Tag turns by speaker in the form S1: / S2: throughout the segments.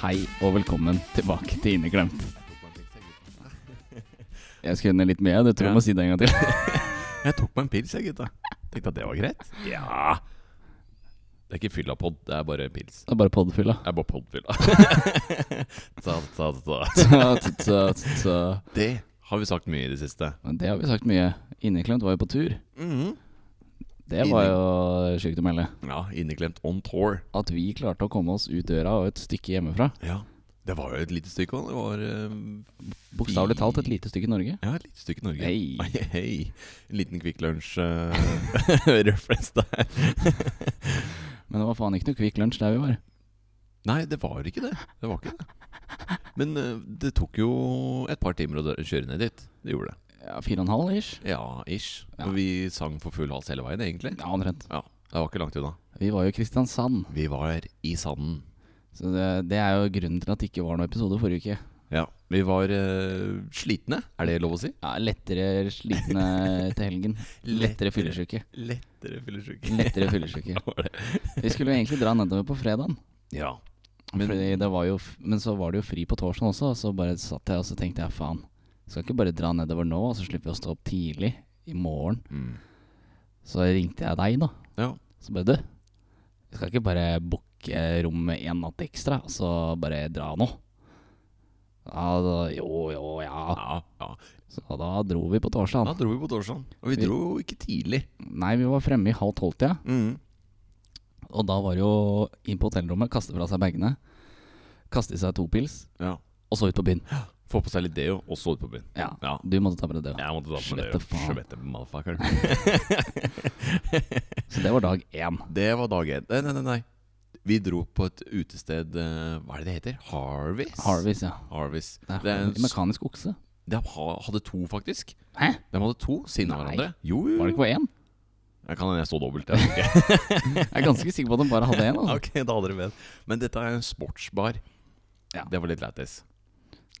S1: Hei og velkommen tilbake til Inneglemt. Jeg skulle ned litt mer, det tror jeg må si det en gang til.
S2: Jeg tok meg en pils, jeg, gutta. Tenkte at det var greit. Ja. Det er ikke fylla pod, det er bare pils.
S1: Det er bare podfylla.
S2: Det er bare podfylla. ta, ta, ta, ta.
S1: Men
S2: Det har vi sagt mye i det siste.
S1: det har vi sagt mye. Inneklemt var jo på tur.
S2: Mhm.
S1: Det var jo sjukt å melde.
S2: Ja, inneklemt on tour.
S1: At vi klarte å komme oss ut døra og et stykke hjemmefra.
S2: Ja. Det var jo et lite stykke òg. Det var eh,
S1: Bokstavelig talt et lite stykke Norge.
S2: Ja, et lite stykke Norge.
S1: Hei.
S2: Hei, hei. En liten Kvikk Lunsj-reference der.
S1: Men det var faen ikke noe Kvikk Lunsj der vi var.
S2: Nei, det var ikke det. Det var ikke det. Men eh, det tok jo et par timer å dø- kjøre ned dit. Det gjorde det.
S1: Ja, Fire og en halv ish?
S2: Ja, ish.
S1: Ja.
S2: Og vi sang for full hals hele veien, egentlig.
S1: Ja, omtrent.
S2: Ja, Det var ikke langt unna.
S1: Vi var jo i Kristiansand,
S2: Vi var i sanden.
S1: så det, det er jo grunnen til at det ikke var noen episode forrige uke.
S2: Ja. Vi var eh, slitne, er det lov å si?
S1: Ja, Lettere slitne til helgen. Lettere fyllesyke.
S2: Lettere fyllesyke.
S1: Lettere fyllesyke. Vi skulle jo egentlig dra nedover på fredagen.
S2: Ja. Men-
S1: Men, det var jo, f- men så var det jo fri på torsdag også, og så bare satt jeg og så tenkte jeg faen, skal ikke bare dra nedover nå, og så slipper vi å stå opp tidlig i morgen.
S2: Mm.
S1: Så ringte jeg deg, da.
S2: Ja.
S1: Så bare du, vi skal ikke bare booke rom med én natt ekstra, og så bare dra nå? Ja, da, jo, jo, ja.
S2: ja. ja.
S1: Så da dro vi på torsdag.
S2: Da dro vi på torsdagen. Og vi
S1: Vi-
S2: dro ikke tidlig.
S1: Nei, vi var fremme i halv tolv-tida.
S2: Mm.
S1: Og da var det jo inn på hotellrommet, kaste fra seg bagene, kaste i seg to pils,
S2: Ja.
S1: og så ut på byen.
S2: Få på seg litt deo, og så ut på byen.
S1: Ja,
S2: Ja.
S1: Du måtte ta med deg det.
S2: Jeg måtte ta på meg
S1: Svette
S2: deo.
S1: faen.
S2: Svette motherfucker.
S1: Så det var dag én.
S2: Det var dag én. Nei, nei, nei, nei. Vi dro på et utested eh, Hva er det det heter? Harvest?
S1: Harvis, ja.
S2: Harvest.
S1: Det er,
S2: Det er en
S1: en mekanisk okse.
S2: De ha- hadde to, faktisk.
S1: Hæ?
S2: De hadde to siden av
S1: Nei.
S2: hverandre. Jo, jo.
S1: Var det ikke bare én?
S2: Jeg kan hende jeg så dobbelt. Jeg. vet ikke.
S1: Jeg er ganske sikker på at de bare hadde én. Altså.
S2: ok, da hadde dere vet. Men dette er en sportsbar.
S1: Ja.
S2: Det var litt lættis.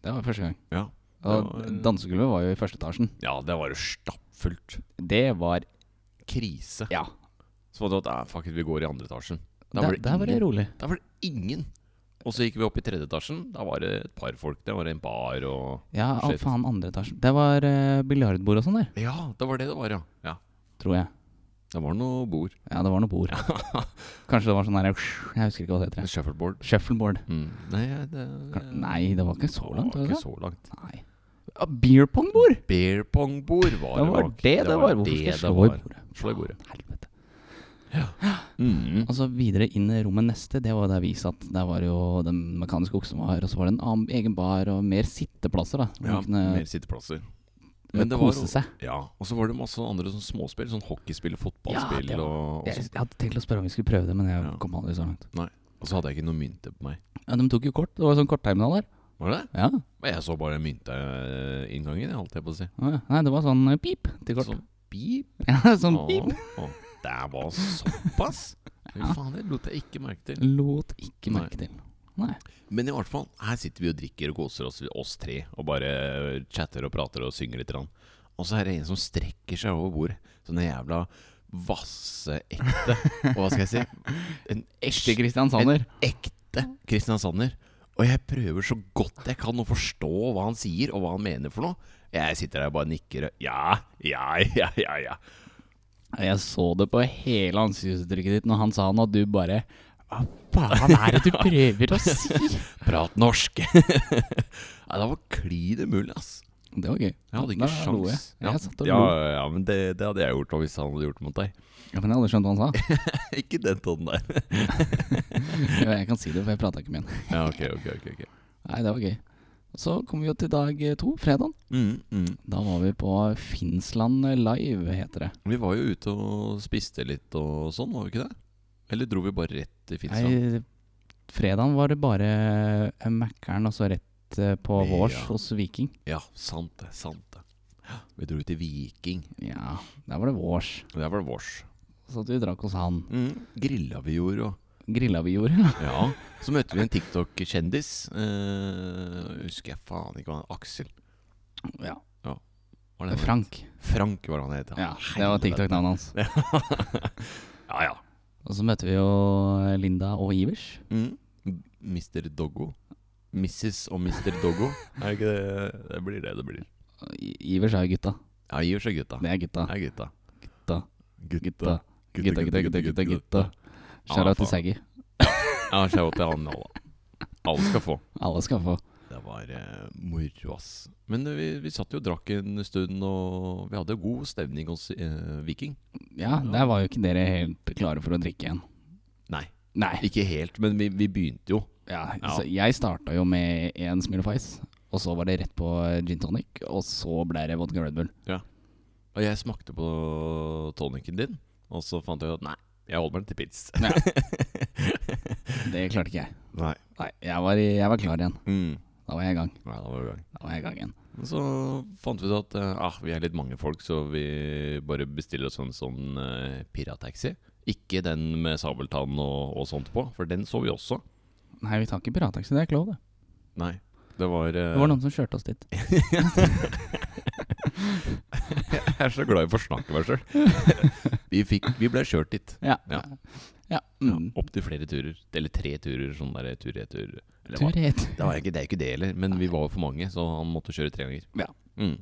S1: Det var første gang.
S2: Ja.
S1: Og
S2: Det var-
S1: dansegulvet var jo i første etasjen.
S2: ja, det var jo stappfullt.
S1: Det var
S2: Krise.
S1: Ja.
S2: Så var det at ah, fuck it, vi går i andre etasjen. Da
S1: Der, der var det
S2: ingen.
S1: rolig.
S2: Da var det ingen. Og så gikk vi opp i tredje etasjen. Da var det et par folk. Det var en bar og
S1: Ja, å,
S2: Shit.
S1: faen, andre etasjen. Det var uh, biljardbord og sånn der,
S2: Ja, det var det det var, ja. ja.
S1: tror jeg.
S2: Det var noe bord.
S1: Ja, det var noe bord. Kanskje det var sånn her Jeg husker ikke hva det heter.
S2: Shuffleboard.
S1: Shuffleboard.
S2: Mm. Nei, det,
S1: Kan- Nei, det var ikke så langt.
S2: det
S1: var det
S2: var ikke så langt.
S1: det? Nei. Ja, beer pong-bord!
S2: Beer pong-bord var
S1: Det var det
S2: nok.
S1: det var. Hvorfor
S2: det
S1: skal jeg
S2: det
S1: slå i
S2: var.
S1: bordet?
S2: Slå i bordet.
S1: Faen, Helvete.
S2: Mm.
S1: Og så Altså, videre inn i rommet neste, det var der vi satt. Der var jo den mekaniske oksen var, og så var det en annen egen bar og mer sitteplasser, da. Hvor
S2: Ja,
S1: man kunne
S2: mer sitteplasser.
S1: eh,
S2: Men det var
S1: kose
S2: jo-
S1: seg.
S2: Ja, og så var det masse sånne andre sånn småspill. Sånn hockeyspill, fotballspill
S1: Ja, det var-
S2: og, og,
S1: Jeg,
S2: sånt.
S1: jeg hadde tenkt å spørre om vi skulle prøve det, men jeg
S2: Ja.
S1: kom aldri så langt.
S2: og så hadde jeg ikke noe mynte på meg.
S1: Ja, de tok jo kort. Det var jo sånn kortterminal der.
S2: Var det det?
S1: Ja.
S2: Men jeg så bare mynteinngangen, jeg, holdt jeg på å si.
S1: Å ja. Nei, det var sånn eh, pip til kort.
S2: Sånn beep.
S1: Ja, sånn pip.
S2: Å, å, det var såpass! Fy faen, det lot jeg ikke merke til.
S1: Lot ikke merke til. Nei.
S2: Men i hvert fall, her sitter vi og drikker og koser oss, oss tre, og bare chatter og prater og synger litt. grann. Og så er det en som strekker seg over bordet. Sånn en jævla vasseekte Og Hva skal jeg si? En
S1: Ekte
S2: ekte,
S1: Kristiansander.
S2: en ekte Kristiansander. Og jeg prøver så godt jeg kan å forstå hva han sier, og hva han mener for noe. Jeg sitter der og bare nikker og Ja, ja, ja, ja. ja.
S1: Jeg så det på hele ansiktsuttrykket ditt når han sa noe, og du bare Hva faen er det du prøver å si?
S2: Prat norsk. Nei, det var klin umulig, ass.
S1: Det var gøy.
S2: Jeg hadde
S1: Da
S2: ikke
S1: lo jeg.
S2: sjans.
S1: Jeg satt og
S2: ja,
S1: lo.
S2: ja, men det, det hadde jeg gjort også hvis han hadde gjort det mot deg.
S1: Ja, men jeg hadde skjønt hva han sa.
S2: Ikke den tonen der.
S1: Jo, Jeg kan si det, for jeg prata ikke med han.
S2: Ja, ok, ok, ok, ok.
S1: Nei, det var gøy. Så kom vi jo til dag eh, to, fredagen.
S2: Mm, mm.
S1: Da var vi på Finnsland Live, heter det.
S2: Vi var jo ute og spiste litt og sånn, var vi ikke det? Eller dro vi bare rett til Finnsland?
S1: Nei, fredagen var det bare eh, Mækkern og så rett eh, på
S2: Ja.
S1: vårs hos Viking.
S2: Ja, sant det, sant det. Ja, Vi dro ut til Viking.
S1: Ja, der var det vårs.
S2: Der var det vårs.
S1: Så at vi drakk hos han.
S2: Mm. Grilla vi gjorde og
S1: Grilla vi gjorde.
S2: Ja. Så møtte vi en TikTok-kjendis. Eh, husker jeg faen ikke hva han Aksel.
S1: Ja.
S2: Var det han het?
S1: Frank.
S2: Frank var det han het.
S1: Ja, det var TikTok-navnet hans.
S2: Ja, ja.
S1: Og så møtte vi jo eh, Linda og Ivers.
S2: Mm. Mr. Doggo. Mrs. og Mr. Doggo. er ikke det Det blir det det blir.
S1: I- Ivers er jo gutta.
S2: Ja, gir seg gutta.
S1: Det er gutta.
S2: Det er gutta.
S1: Gutta. Gutta. Gutta, gutta, gutta, gutta. gutta.
S2: Ja,
S1: Shout out
S2: faen.
S1: til Saggy.
S2: Ja, shout out til han alle. Alle skal få.
S1: Alle skal få.
S2: Det var eh, moro, ass. Men eh, vi, vi satt jo og drakk en stund, og vi hadde god stemning hos eh, Viking.
S1: Ja, der var jo ikke dere helt klare for å drikke igjen.
S2: Nei,
S1: Nei.
S2: ikke helt, men vi, vi begynte jo.
S1: Ja,
S2: Ja.
S1: Så jeg starta jo med én Smil of Ice, og så var det rett på gin tonic, og så ble det vodka Red Bull.
S2: Og jeg smakte på tonicen din, og så fant jeg ut at nei, jeg holder meg til pils.
S1: Det klarte ikke jeg.
S2: Nei.
S1: Nei, jeg var, i- jeg var klar igjen.
S2: Mm.
S1: Da var jeg i gang.
S2: Nei, da var vi i gang.
S1: Da var jeg i gang igjen.
S2: Men så fant vi ut at eh, ah, vi er litt mange folk, så vi bare bestiller oss en sånn eh, pirattaxi. Ikke den med sabeltann og, og sånt på, for den så vi også.
S1: Nei, vi tar ikke pirattaxi, det er ikke lov, det.
S2: Nei, det var, eh,
S1: Det var noen som kjørte oss dit.
S2: Jeg er så glad i å forsnakke meg sjøl. Vi, fikk- vi ble kjørt dit.
S1: Ja.
S2: Ja.
S1: Ja, mm.
S2: Opp til flere turer. Eller tre turer, sånn der tur-retur. Eller hva?
S1: Tur hit.
S2: Det, var ikke, det er ikke det heller, men vi var jo for mange, så han måtte kjøre tre ganger.
S1: Ja.
S2: Mm.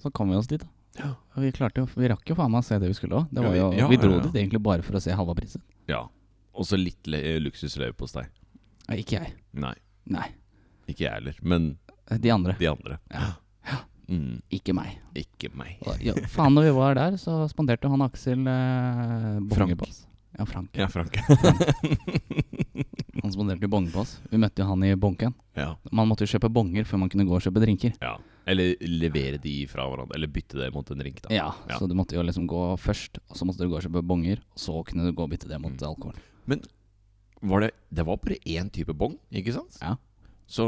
S1: Så kom vi oss dit, da.
S2: Ja.
S1: Og vi, klarte jo, vi rakk jo faen meg å se det vi skulle òg.
S2: Ja, vi-
S1: Vi,
S2: ja,
S1: vi dro
S2: ja, ja.
S1: dit egentlig bare for å se halva prisen.
S2: ja. Og så litt le- eh, luksusleverpostei.
S1: Nei, Ikke jeg.
S2: Nei,
S1: Nei.
S2: ikke jeg heller, men
S1: De andre.
S2: de andre.
S1: Ja.
S2: Mm.
S1: Ikke meg.
S2: Ikke meg.
S1: Og, ja, faen, når vi var der, så spanderte han Aksel eh, bonge
S2: Frank.
S1: på oss. Ja, Frank.
S2: Ja, Frank.
S1: Han spanderte bonge på oss. Vi møtte jo han i bonken.
S2: Ja.
S1: Man måtte jo kjøpe bonger før man kunne gå og kjøpe drinker.
S2: ja. Eller levere de fra hverandre. Eller bytte det mot en drink, da.
S1: Ja,
S2: Ja.
S1: Så du måtte jo liksom gå først, og så måtte du gå og kjøpe bonger, og så kunne du gå og bytte det mot
S2: Mm.
S1: alkohol.
S2: Var det, det var bare én type bong, ikke sant?
S1: Ja.
S2: Så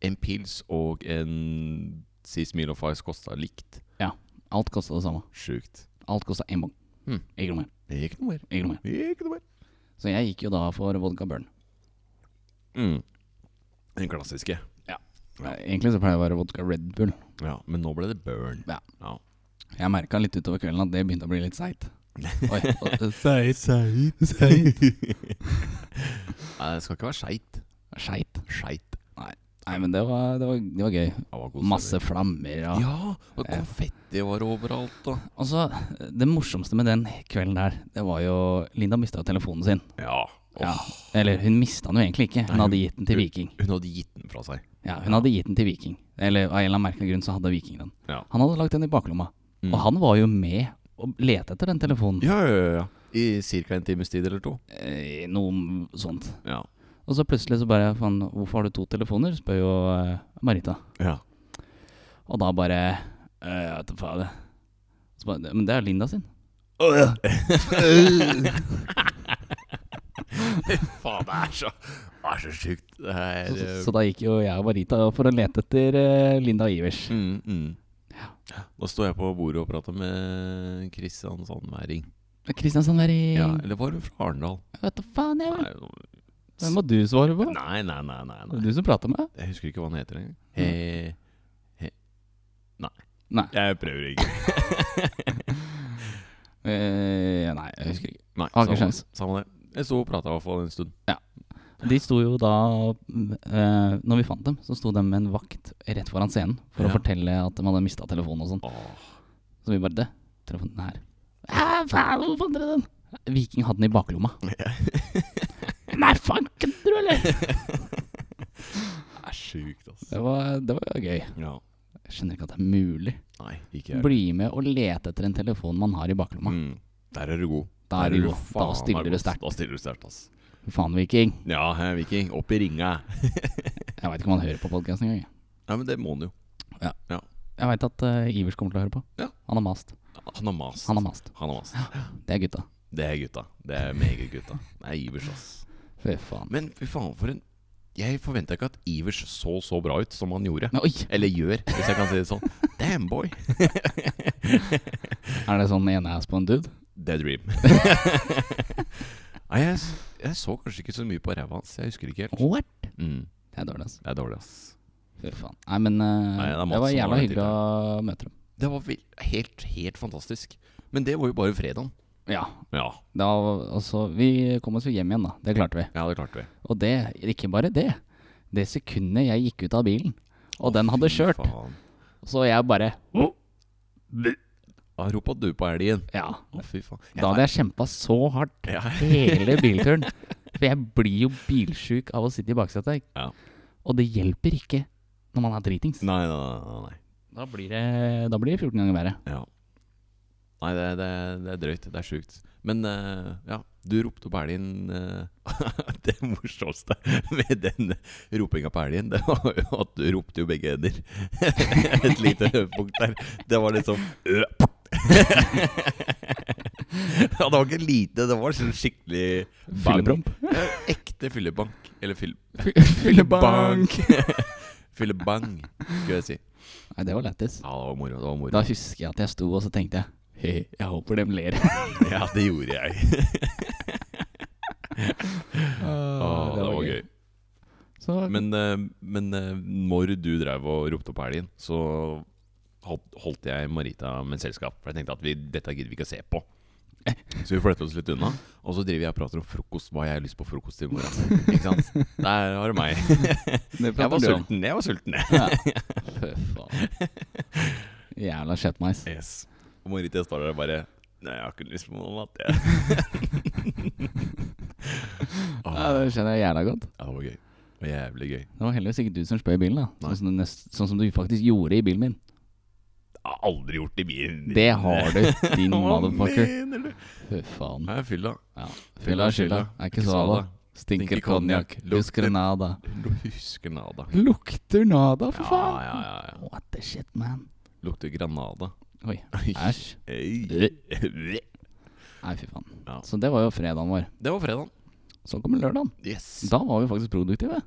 S2: en pils og en Six Meal of Ice kosta likt.
S1: Alt kosta det samme.
S2: Sjukt.
S1: Alt kosta én bong.
S2: Mm.
S1: Ikke noe mer.
S2: Ikke noe mer.
S1: Ikke noe mer.
S2: Ikke noe mer.
S1: Så jeg gikk jo da for vodka burn.
S2: Mm. Den klassiske. Ja.
S1: Egentlig så pleier det å være vodka Red Bull.
S2: Ja, men nå ble det burn.
S1: Jeg merka litt utover kvelden at det begynte å bli litt seigt. Oi, og-
S2: eh, Seit, seit, seit. Nei, det skal ikke være skeit.
S1: Skeit.
S2: Skeit.
S1: Nei, men det var, det var, det var gøy.
S2: Det var god
S1: Masse
S2: stemning.
S1: flammer og
S2: Ja, og konfetti var overalt og
S1: Altså, det morsomste med den kvelden der, det var jo Linda mista jo telefonen sin.
S2: Ja. Åh,
S1: Ja. Eller hun mista den jo egentlig ikke, hun
S2: Nei,
S1: hadde gitt den til Viking.
S2: Hun hadde gitt den fra seg.
S1: Ja, hun hadde gitt den til Viking. Eller av en eller annen merkelig grunn så hadde Viking den.
S2: Ja.
S1: Han hadde lagt den i baklomma.
S2: Mm.
S1: Og han var jo med og lette etter den telefonen.
S2: Ja, ja, ja. I ca. en times tid eller to.
S1: Eh, noe sånt.
S2: Ja.
S1: Og så plutselig så bare faen, hvorfor har du to telefoner? spør jo eh, Marita.
S2: ja.
S1: Og da bare eh, Jeg vet da faen. jeg. Så bare, Men det er Linda sin.
S2: Faen, det er så, det er så sjukt. Det er
S1: Så, så,
S2: eh,
S1: så da gikk jo jeg og Marita for å lete etter eh, Linda Ivers.
S2: mm, mm. Da står jeg på bordet og prater med Kristiansand Væring.
S1: Kristiansand Væring.
S2: Ja, eller var hun fra Arendal?
S1: Jeg vet da faen, jeg vel.
S2: Nei,
S1: Hvem må du svare på?
S2: nei, nei. nei, nei,
S1: Det
S2: nei.
S1: er du som prater med?
S2: Jeg husker ikke hva han heter engang. He, he. Nei.
S1: Mm. Nei.
S2: Jeg prøver ikke.
S1: Eh, nei, jeg husker ikke.
S2: Nei,
S1: Har ikke
S2: samme-
S1: sjans.
S2: Samme det. Jeg sto og prata i hvert fall en stund.
S1: De sto jo da eh, Når vi fant dem, så sto de med en vakt rett foran scenen for å
S2: Ja.
S1: fortelle at de hadde mista telefonen og sånn.
S2: Åh,
S1: Så vi bare Det, telefonen er her. Hæ, faen, hvor fant dere den? Viking hadde den i baklomma. nei, faen, kødder du, eller?
S2: det er sjukt, altså.
S1: Det var, det var jo gøy.
S2: Ja.
S1: Jeg skjønner ikke at det er mulig.
S2: Nei, ikke jeg.
S1: Bli med og lete etter en telefon man har i baklomma.
S2: Mm. Der er du god.
S1: Da er
S2: Der
S1: du god. Da
S2: faen meg
S1: stiller
S2: god.
S1: du sterkt.
S2: Da stiller du sterkt, ass.
S1: Faen, Viking.
S2: Ja, hei, Viking. Opp i ringa.
S1: Jeg veit ikke om han hører på podkasten engang. jeg.
S2: Nei, men det må han jo.
S1: Jeg veit at eh, Ivers kommer til å høre på.
S2: Ja.
S1: Han har mast.
S2: Han har mast.
S1: Han har mast.
S2: Han har mast.
S1: Det er gutta.
S2: Det er gutta. Det er meget gutta. Det er Ivers, ass.
S1: Fy faen.
S2: Men fy faen, for en Jeg forventa ikke at Ivers så så bra ut som han gjorde.
S1: Men Oi!
S2: Eller gjør, hvis jeg kan si det sånn. Damn, boy.
S1: Er det sånn ene ass på en dude?
S2: The Dream. Nei, jeg, s- jeg så kanskje ikke så mye på ræva hans. Jeg husker ikke helt.
S1: What?
S2: Mm,
S1: Det er dårlig, altså.
S2: det er dårlig, ass.
S1: Fy faen. Nei, men eh,
S2: Nei, det er
S1: det,
S2: Madsen
S1: var
S2: som
S1: jævla
S2: var den
S1: hyggelig å møte dem.
S2: Det var vel- helt, helt fantastisk. Men det var jo bare fredagen.
S1: Ja.
S2: Ja.
S1: Da, altså, vi kom oss jo hjem igjen, da. Det klarte vi.
S2: ja, det klarte vi.
S1: Og det, ikke bare det. Det sekundet jeg gikk ut av bilen, og
S2: Å,
S1: den hadde
S2: fy
S1: kjørt,
S2: faen.
S1: så jeg bare
S2: Da ropa du på elgen.
S1: Ja.
S2: Å, fy faen. Jeg
S1: Da hadde jeg kjempa så hardt
S2: Ja.
S1: hele bilturen. For jeg blir jo bilsjuk av å sitte i baksetet.
S2: Ja.
S1: Og det hjelper ikke når man er dritings.
S2: Nei, nei, nei. nei, nei.
S1: Da blir det, da blir det 14 ganger verre.
S2: Ja. Nei, det, det, det er drøyt. Det er sjukt. Men eh, ja, du ropte på elgen eh, Det morsomste med den ropinga på elgen, det var jo at du ropte jo begge ender. Et lite punkt der. Det var liksom øh, Ja, det var ikke lite, det var sånn skikkelig
S1: Fyllepromp.
S2: Ja, Ekte fyllebank. Eller fyll...
S1: Fyllebank!
S2: Fyllebang, skulle jeg si.
S1: Nei, det var lættis.
S2: Ja, det var moro. Det var moro.
S1: Da husker jeg at jeg sto og så tenkte jeg Hei, jeg håper de ler.
S2: Ja, det gjorde jeg. Å, det var gøy.
S1: Så,
S2: Men, eh, men eh, når du drev og ropte på elgen, så holdt, holdt jeg Marita med selskap. For jeg tenkte at vi, dette gidder vi ikke å se på. Så vi flyttet oss litt unna. Og så driver jeg og prater om frokost. Hva har jeg lyst på frokost til i morgen? Ikke sant? Der har du meg.
S1: det
S2: Jeg
S1: prater
S2: var
S1: du om.
S2: sulten, jeg var sulten. jeg.
S1: Ja. Fy faen. Jævla kjøttmeis.
S2: Yes. Og Marita står der og bare Nei, jeg har ikke lyst på noe mat, jeg. Å,
S1: Ja, det skjønner jeg jævla godt.
S2: ja, det var gøy. Det var jævlig gøy.
S1: Det var heldigvis ikke du som spøy i bilen, da.
S2: Nei.
S1: Sånn som, du nest, sånn som du faktisk gjorde i bilen min.
S2: Jeg har aldri gjort det i bilen.
S1: Det har du, din motherfucker.
S2: Hva mener du?
S1: Fy faen.
S2: Nei, fylla.
S1: Ja. Fylla er skylda, er ikke svada.
S2: Sala.
S1: Stinker
S2: Stinker konjakk,
S1: konjakk,
S2: lukter-
S1: lusker nada.
S2: Du husker nada.
S1: Lukter nada,
S2: Ja,
S1: for faen!
S2: ja, ja, ja.
S1: What the shit, man.
S2: Lukter granada.
S1: Oi.
S2: Oi.
S1: Æsj.
S2: Ei.
S1: Nei, fy faen.
S2: Ja.
S1: Så det var jo fredagen vår.
S2: Det var fredagen.
S1: Så kommer lørdagen.
S2: Yes.
S1: Da var vi faktisk produktive.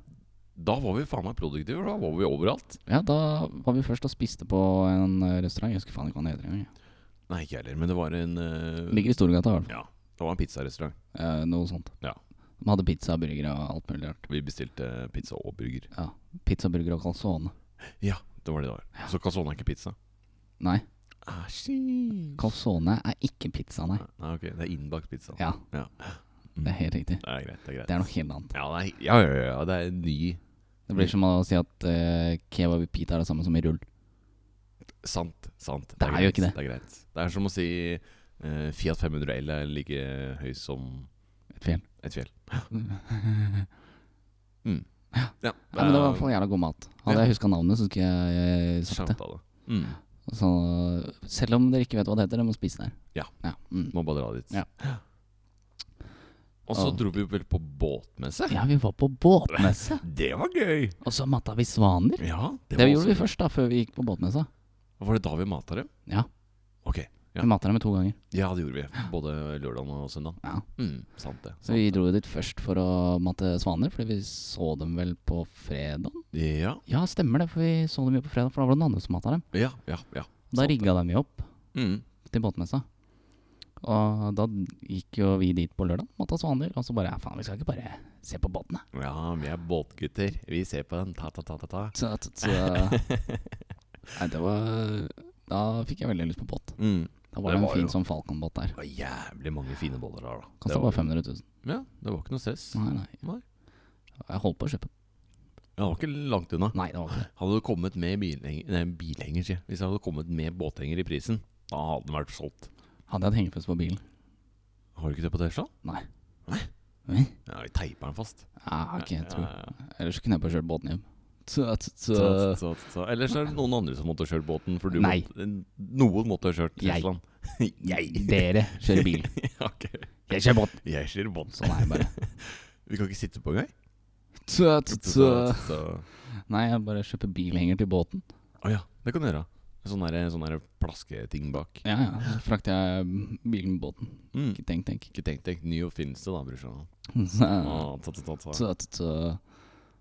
S2: Da var vi faen meg produktive. for Da var vi overalt.
S1: Ja, da var vi først og spiste på en eh, restaurant. Jeg husker faen ikke hva den heter engang. jeg.
S2: Nei, ikke jeg heller, men det var en eh,
S1: Ligger i Storgata, i hvert fall.
S2: Ja, det var en pizzarestaurant.
S1: Eh, noe sånt.
S2: Ja.
S1: De hadde pizza, burger og alt mulig rart.
S2: Vi bestilte eh, pizza og burger.
S1: Ja. Pizza, burger og calzone.
S2: Ja, Ah, det var det det var. Så calzone er ikke pizza?
S1: Nei,
S2: Æsj.
S1: calzone er ikke pizza, nei.
S2: Nei, Ah, ok, det er innbakt pizza.
S1: Ja, det er
S2: Mm.
S1: helt riktig.
S2: Det er greit. det er greit
S1: Det er noe helt annet.
S2: Ja, nei, ja, ja, ja, det er en ny
S1: Det
S2: Mm.
S1: blir som å si at eh, kebab i pita er det samme som i rull.
S2: Sant. sant
S1: Det er jo
S2: greit,
S1: ikke det.
S2: Det er greit Det er som å si eh, Fiat 500 L er like høy som
S1: Et fjell.
S2: et fjell.
S1: ja,
S2: Mm.
S1: Ja.
S2: Ja,
S1: men det var i hvert fall jævla god mat. Hadde
S2: Ja.
S1: jeg huska navnet, så skulle jeg eh, sagt det.
S2: samtale. Mm.
S1: Så, selv om dere ikke vet hva det heter, dere må spise der.
S2: Ja.
S1: ja. Mm.
S2: Må bare dra dit.
S1: Ja.
S2: Og så
S1: Og-
S2: dro vi vel på båtmesse.
S1: Ja, vi var på båtmesse.
S2: Det var gøy!
S1: Og så matta vi svaner.
S2: Ja,
S1: Det,
S2: var også
S1: gjorde vi
S2: gøy.
S1: først, da, før vi gikk på båtmessa.
S2: Var det da vi mata dem?
S1: Ja.
S2: Ok. Ja.
S1: Vi matta dem to ganger.
S2: Ja, det gjorde vi. Både lørdagen og søndagen.
S1: Ja.
S2: Mm, sant det.
S1: Så vi dro jo dit først for å matte svaner, fordi vi så dem vel på fredag?
S2: Ja,
S1: Ja, stemmer det, for vi så dem jo på fredag, for da var det noen andre som matta dem.
S2: ja, ja. ja.
S1: Da
S2: Sant det.
S1: rigga de jo opp
S2: Mm.
S1: til båtmessa. Og da gikk jo vi dit på lørdag, matta svaner, og så bare ja, faen, vi skal ikke bare se på båtene.
S2: ja, vi er båtgutter. Vi ser på den ta-ta-ta-ta.
S1: Så, så, så Nei, det var Da fikk jeg veldig lyst på båt.
S2: Mm.
S1: Da var
S2: Det
S1: det,
S2: var
S1: en fin
S2: jo-
S1: sånn Falcon-båt der.
S2: Det var jævlig mange fine boller der, da.
S1: Kosta bare 500 000.
S2: Ja, det var ikke noe stress.
S1: Nei, nei.
S2: Nei.
S1: Jeg holdt på å kjøpe den.
S2: Jeg var ikke langt unna.
S1: Nei, det var ikke det.
S2: Hadde du kommet med bilhenger, nei, bilhenger sier jeg. Hvis jeg hadde kommet med båthenger i prisen, da hadde den vært solgt.
S1: Hadde jeg et hengefest på bilen?
S2: Har du ikke det på Tesla?
S1: Nei.
S2: Nei?
S1: Nei.
S2: Ja, vi teiper den fast.
S1: Ja, ok, jeg tror
S2: Ja, ja, ja.
S1: Ellers så kunne jeg bare kjørt båten hjem. Så, så, så,
S2: Så- så- så- Ellers er det noen andre som måtte ha kjørt båten, for du
S1: Nei.
S2: måtte, noen måtte ha kjørt
S1: Jeg.
S2: Teslaen.
S1: Dere kjører bil.
S2: Ok.
S1: Jeg kjører båt!
S2: Jeg kjører båt.
S1: Sånn er jeg bare.
S2: Vi kan ikke sitte på engang.
S1: Så, så, så.
S2: Så-
S1: Nei, jeg bare kjøper bilhenger til båten.
S2: Å ja, det kan du gjøre. Sånn der, sånn der plasketing bak.
S1: Ja, ja. Så frakter jeg bilen med båten.
S2: Mm.
S1: Ikke tenk, tenk.
S2: Ikke tenk deg, ny oppfinnelse da, brorsan.
S1: Så,
S2: Ah, ta, ta, ta, ta.
S1: så, så, så.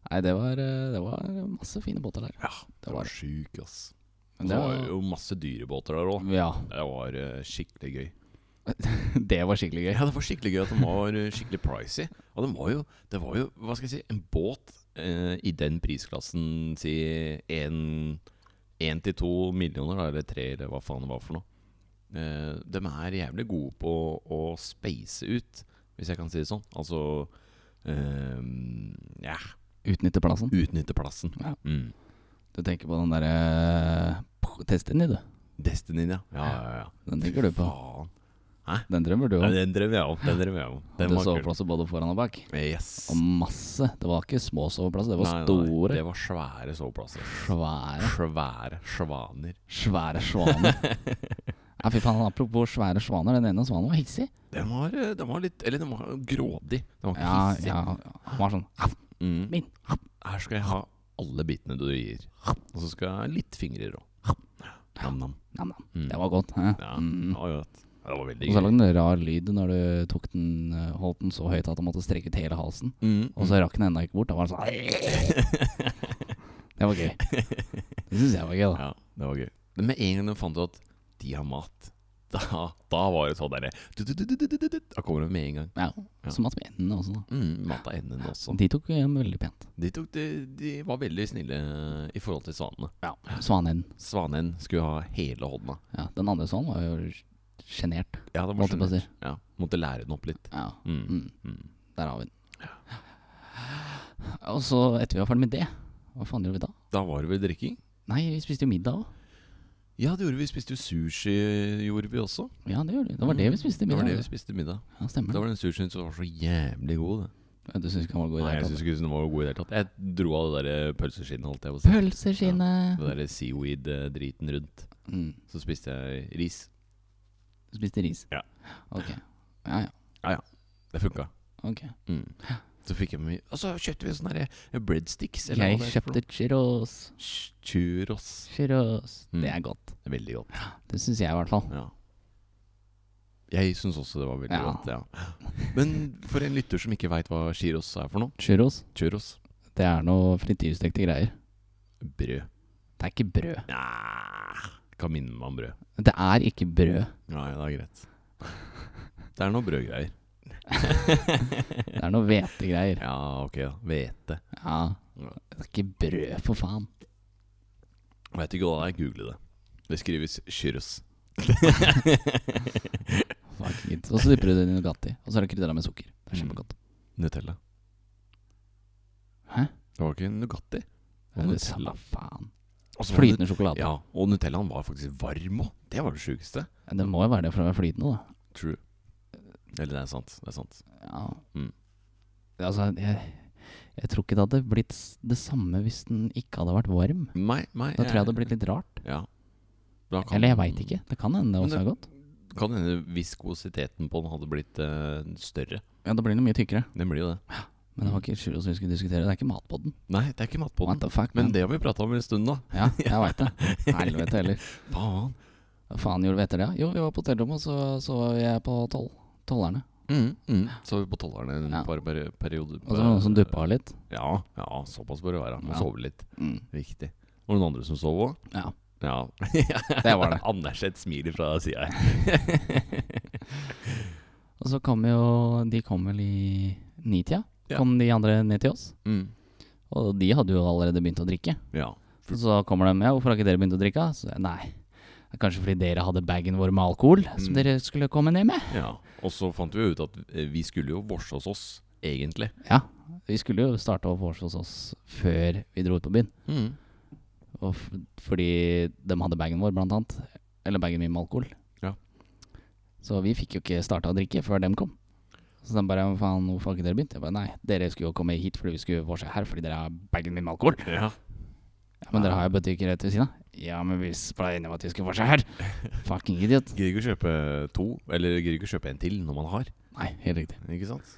S1: Nei, det var, eh, det var masse fine båter der.
S2: Ja,
S1: Det
S2: det var
S1: var
S2: sjuk, ass.
S1: Men
S2: det
S1: det
S2: var
S1: var-
S2: jo masse dyrebåter der òg.
S1: Ja.
S2: Det var eh, skikkelig gøy.
S1: Det var skikkelig gøy.
S2: Ja, det var skikkelig gøy at den var eh, skikkelig pricy. Og den var jo, det var jo, hva skal jeg si, en båt eh, i den prisklassen, si en- en til to millioner, da, eller tre, eller hva faen det var for noe. Eh, de er jævlig gode på å space ut, hvis jeg kan si det sånn. Altså eh, ja,
S1: Utnytte plassen.
S2: utnytte plassen.
S1: Ja.
S2: Mm.
S1: Du tenker på den eh, derre Destiny, du.
S2: Destiny, ja. Ja, ja, ja.
S1: Den tenker du på.
S2: Faen.
S1: Den drømmer du
S2: Ja,
S1: om.
S2: den drømmer jeg om. Den drømmer jeg om. Den
S1: Du
S2: var kul.
S1: soveplasser både foran og bak.
S2: Yes.
S1: Og masse. Det var ikke små soveplasser, det var
S2: Nei, nei,
S1: store.
S2: Det var svære soveplasser.
S1: Svære.
S2: Svære svaner.
S1: Svære svaner. Ja, fy faen, apropos svære svaner. Den ene svanen var hissig.
S2: Den var, eh, den var litt Eller den var grådig. Den var ikke
S1: Ja,
S2: hissig.
S1: ja, han var sånn
S2: Mm.
S1: Min.
S2: Her skal jeg ha alle bitene du gir. Og så skal jeg ha litt fingrer òg. Nam-nam.
S1: Nam, nam.
S2: Mm.
S1: Det var godt. hæ?
S2: Ja,
S1: Mm.
S2: det var godt. Ja, det var
S1: Og
S2: veldig
S1: så
S2: gøy.
S1: lagde den en rar lyd når du tok den, eh, holdt den så høyt at den måtte strekke ut hele halsen.
S2: Mm.
S1: Og så rakk den ennå ikke bort. Da var den sånn Det var gøy. Det syns jeg var gøy, da.
S2: Ja, det var gøy. Men med en gang de fant ut at de har mat, da, da var det sånn derre du-du-du-du-du-du-du. Da kommer de med en gang.
S1: Ja.
S2: Ja.
S1: Som at vi ender også, da. Sånn,
S2: Mm, mat av enden også.
S1: De tok hjem veldig pent.
S2: De, tok, de, de var veldig snille i forhold til svanene.
S1: Ja. Svanen.
S2: Svanen skulle ha hele hånda.
S1: Ja, den andre svanen var jo sjenert,
S2: Ja, det var
S1: måtte jeg
S2: skjønt.
S1: bare si.
S2: Ja, måtte lære den opp litt.
S1: Ja.
S2: Mm.
S1: Mm.
S2: Mm.
S1: Der har vi den. Og så, etter vi var ferdig med det, hva faen gjorde vi da?
S2: Da var det vel drikking?
S1: Nei, vi spiste jo middag òg.
S2: Ja, det gjorde vi. Vi spiste jo sushi gjorde vi også.
S1: Ja, det gjorde vi. Det var det vi spiste i
S2: Mm, Det
S1: middag. Mm.
S2: var det vi spiste i middag.
S1: Ja, stemmer
S2: Da
S1: det.
S2: var den sushien som var så jævlig god. Det.
S1: Ja, Du syns ikke han var god i
S2: Nei,
S1: det
S2: jeg
S1: hele
S2: syns
S1: tatt?
S2: ikke den var god i det hele tatt. Jeg dro av det der eh, pølseskinnet, holdt jeg på å si.
S1: Pølseskinnet!
S2: Det der seaweed-driten rundt.
S1: Mm.
S2: Så spiste jeg ris.
S1: Du spiste ris?
S2: Ja.
S1: Ok. Ja, ja.
S2: Det funka.
S1: Ok.
S2: Mm. Så fikk jeg med Og så kjøpte vi sånne der, eh, breadsticks.
S1: Jeg
S2: hva det er for noe.
S1: kjøpte churros.
S2: Churros.
S1: Churros.
S2: Mm.
S1: Det er godt.
S2: Det er Veldig godt.
S1: Det syns jeg i hvert fall.
S2: Ja. Jeg syns også det var veldig
S1: Ja.
S2: godt. Ja. Men for en lytter som ikke veit hva chiros er for noe
S1: Churros,
S2: Churros.
S1: det er noe frityrstekte greier.
S2: Brød.
S1: Det er ikke brød.
S2: Nja Kan minne meg om brød.
S1: Det er ikke brød.
S2: Nei, det er greit. Det er noe brødgreier.
S1: Det er noe hvetegreier.
S2: Ja, ok. da. Hvete.
S1: Ja. Det er ikke brød, for faen.
S2: Veit ikke hva det er. Google det. Det skrives chiros.
S1: Fuck it. Og så dypper du det i Nugatti. Og så er det krydra med sukker. Det er
S2: Mm.
S1: kjempegodt.
S2: Nutella.
S1: Hæ?
S2: Det var ikke Nugatti.
S1: Det er det samme faen.
S2: Og så var det-
S1: Flytende sjokolade.
S2: Ja, og Nutellaen var faktisk varm òg. Det var det sjukeste.
S1: Ja, Det må jo være det for å være flytende, da.
S2: True. Eller det er sant. Det er sant.
S1: Ja.
S2: Mm.
S1: Altså, jeg, jeg tror ikke det hadde blitt s- det samme hvis den ikke hadde vært varm.
S2: Nei, nei
S1: Da tror jeg det hadde blitt litt rart.
S2: Ja. Da kan-
S1: Eller jeg veit ikke. Det kan hende det
S2: Men
S1: også er godt.
S2: Kan hende viskositeten på den hadde blitt eh, større.
S1: Ja, da blir den mye tykkere.
S2: Den blir jo det.
S1: Men det var ikke churros vi skulle diskutere. Det er ikke matpodden.
S2: Nei, det er ikke matpodden.
S1: What the fuck,
S2: Men
S1: man.
S2: det har vi prata om en stund, da.
S1: Ja, jeg veit det. Helvete heller.
S2: Faen.
S1: Hva faen gjorde vi etter det? Jo, vi var på hotellrommet, og så så jeg på toll. Tollerne.
S2: Mm, mm. Så vi på tollerne en
S1: Ja.
S2: par per perioder.
S1: Og så var det noen som duppa litt.
S2: Ja, ja, såpass bør det være. Må
S1: Ja.
S2: sove litt.
S1: Mm.
S2: Viktig. Og noen andre som sov òg?
S1: Ja.
S2: Ja.
S1: Det var det.
S2: Anders et smil fra sida her.
S1: Og så kom jo De kom vel i nitida?
S2: Ja.
S1: Kom de andre ned til oss?
S2: Mm.
S1: Og de hadde jo allerede begynt å drikke.
S2: Ja.
S1: Og så kommer de med. 'Hvorfor har ikke dere begynt å drikke?' Så, jeg, nei. Det er kanskje fordi dere hadde bagen vår med alkohol som
S2: Mm.
S1: dere skulle komme ned med.
S2: Ja, og så fant vi jo ut at eh, vi skulle jo vorse hos oss, egentlig.
S1: Ja. Vi skulle jo starte å vors hos oss før vi dro ut på byen. Og f fordi de hadde bagen vår, blant annet. Eller bagen min med alkohol.
S2: Ja.
S1: Så vi fikk jo ikke starta å drikke før dem kom. Så de bare «Hva faen, hvorfor har ikke dere begynt? Jeg bare nei, dere skulle jo komme hit fordi vi skulle vorse her fordi dere har bagen min med alkohol.
S2: Ja.
S1: Ja, men dere har jo butikker rett ved siden av. Ja, men vi ble enige om at vi skulle vorse her. Fucking idiot.
S2: Gidder ikke å kjøpe to, eller gidder ikke å kjøpe en til når man har,
S1: Nei, helt riktig.
S2: ikke sant?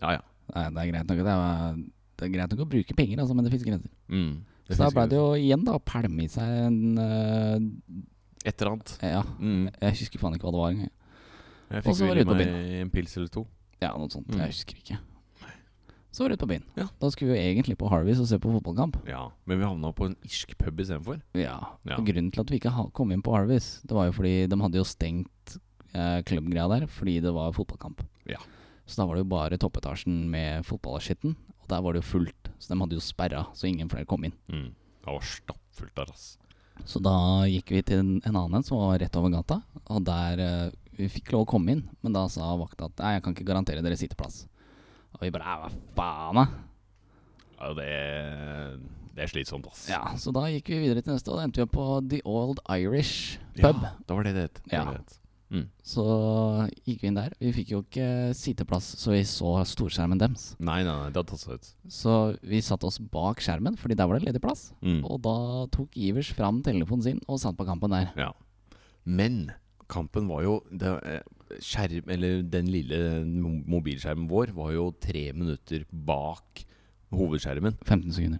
S2: Ja, ja.
S1: Nei, det er greit nok, at det er, det er greit nok å bruke penger, altså, men det finnes grenser.
S2: Mm.
S1: Så da ble det jo igjen da å pælme i seg en øh,
S2: Et eller annet.
S1: Ja,
S2: Mm.
S1: jeg husker faen ikke hva det var engang.
S2: Jeg
S1: Og
S2: fikk
S1: så var
S2: vel i
S1: det ut på
S2: meg en pils eller to.
S1: Ja, noe sånt.
S2: Mm.
S1: Jeg husker ikke. Så var det ut på byen.
S2: Ja.
S1: Da skulle vi jo egentlig på Harveys og se på fotballkamp.
S2: Ja, men vi havna på en irsk pub istedenfor.
S1: Ja.
S2: Ja.
S1: Og grunnen til at vi ikke ha- kom inn på Harveys, det var jo fordi de hadde jo stengt eh, klubbgreia der fordi det var fotballkamp.
S2: Ja.
S1: Så da var det jo bare toppetasjen med fotballskitten, og der var det jo fullt. Så de hadde jo sperra, så ingen flere kom inn.
S2: Mm. Det var stappfullt der, ass.
S1: Så da gikk vi til en, en annen som var rett over gata, og der eh, Vi fikk lov å komme inn, men da sa vakta at nei, jeg kan ikke garantere dere sitteplass. Og vi bare "Æ, hva faen, da?
S2: Ja, det, det er slitsomt, ass.
S1: Ja, så da gikk vi videre til neste, og da endte vi opp på The Old Irish
S2: Ja,
S1: Pub.
S2: da var det det het. Det
S1: Ja.
S2: var det det het.
S1: Så gikk vi inn der. Vi fikk jo ikke sitteplass, så vi så storskjermen deres.
S2: Nei, nei, nei, det hadde tatt seg ut.
S1: Så vi satte oss bak skjermen, fordi der var det ledig plass.
S2: Mm.
S1: Og da tok Ivers fram telefonen sin og satt på kampen der.
S2: Ja. Men kampen var jo det, eh, skjerm, eller Den lille mo- mobilskjermen vår var jo tre minutter bak hovedskjermen
S1: 15 sekunder.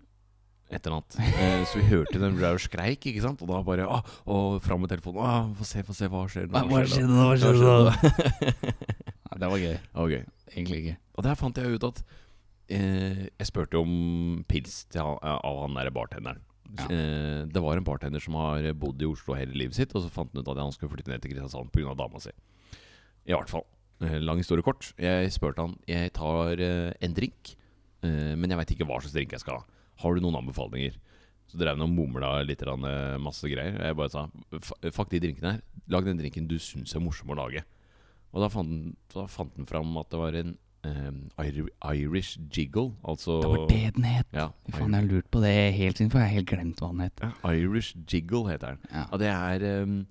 S2: et eller annet. Eh, så vi hørte den drev og skreik, ikke sant? Og da bare ah, og fram med telefonen. Ah, få se, få se, hva skjer nå? skjer nå?
S1: nå? Hva
S2: skjedde nå?
S1: Nei, det var gøy.
S2: Ja, ok.
S1: Egentlig ikke.
S2: Og der fant jeg ut at eh, Jeg spurte jo om pils til han, av han derre bartenderen.
S1: Ja.
S2: Eh, det var en bartender som har bodd i Oslo hele livet sitt, og så fant han ut at han skulle flytte ned til Kristiansand pga. dama si. I hvert fall. Eh, lang historie kort. Jeg spurte han Jeg tar eh, en drink, eh, men jeg veit ikke hva slags drink jeg skal ha. Har du noen anbefalinger? Så drev han og mumla litt grann, eh, masse greier. Jeg bare sa "F- fuck de drinkene her. Lag den drinken du syns er morsom å lage. Og da fant, han, da fant han fram at det var en eh, Ir- Irish jiggle. Altså
S1: Det var det den het.
S2: Ja,
S1: Fy faen, jeg har lurt på det helt siden, for jeg har helt glemt hva den het.
S2: ja, Irish jiggle heter den.
S1: Ja.
S2: Ja, det er eh,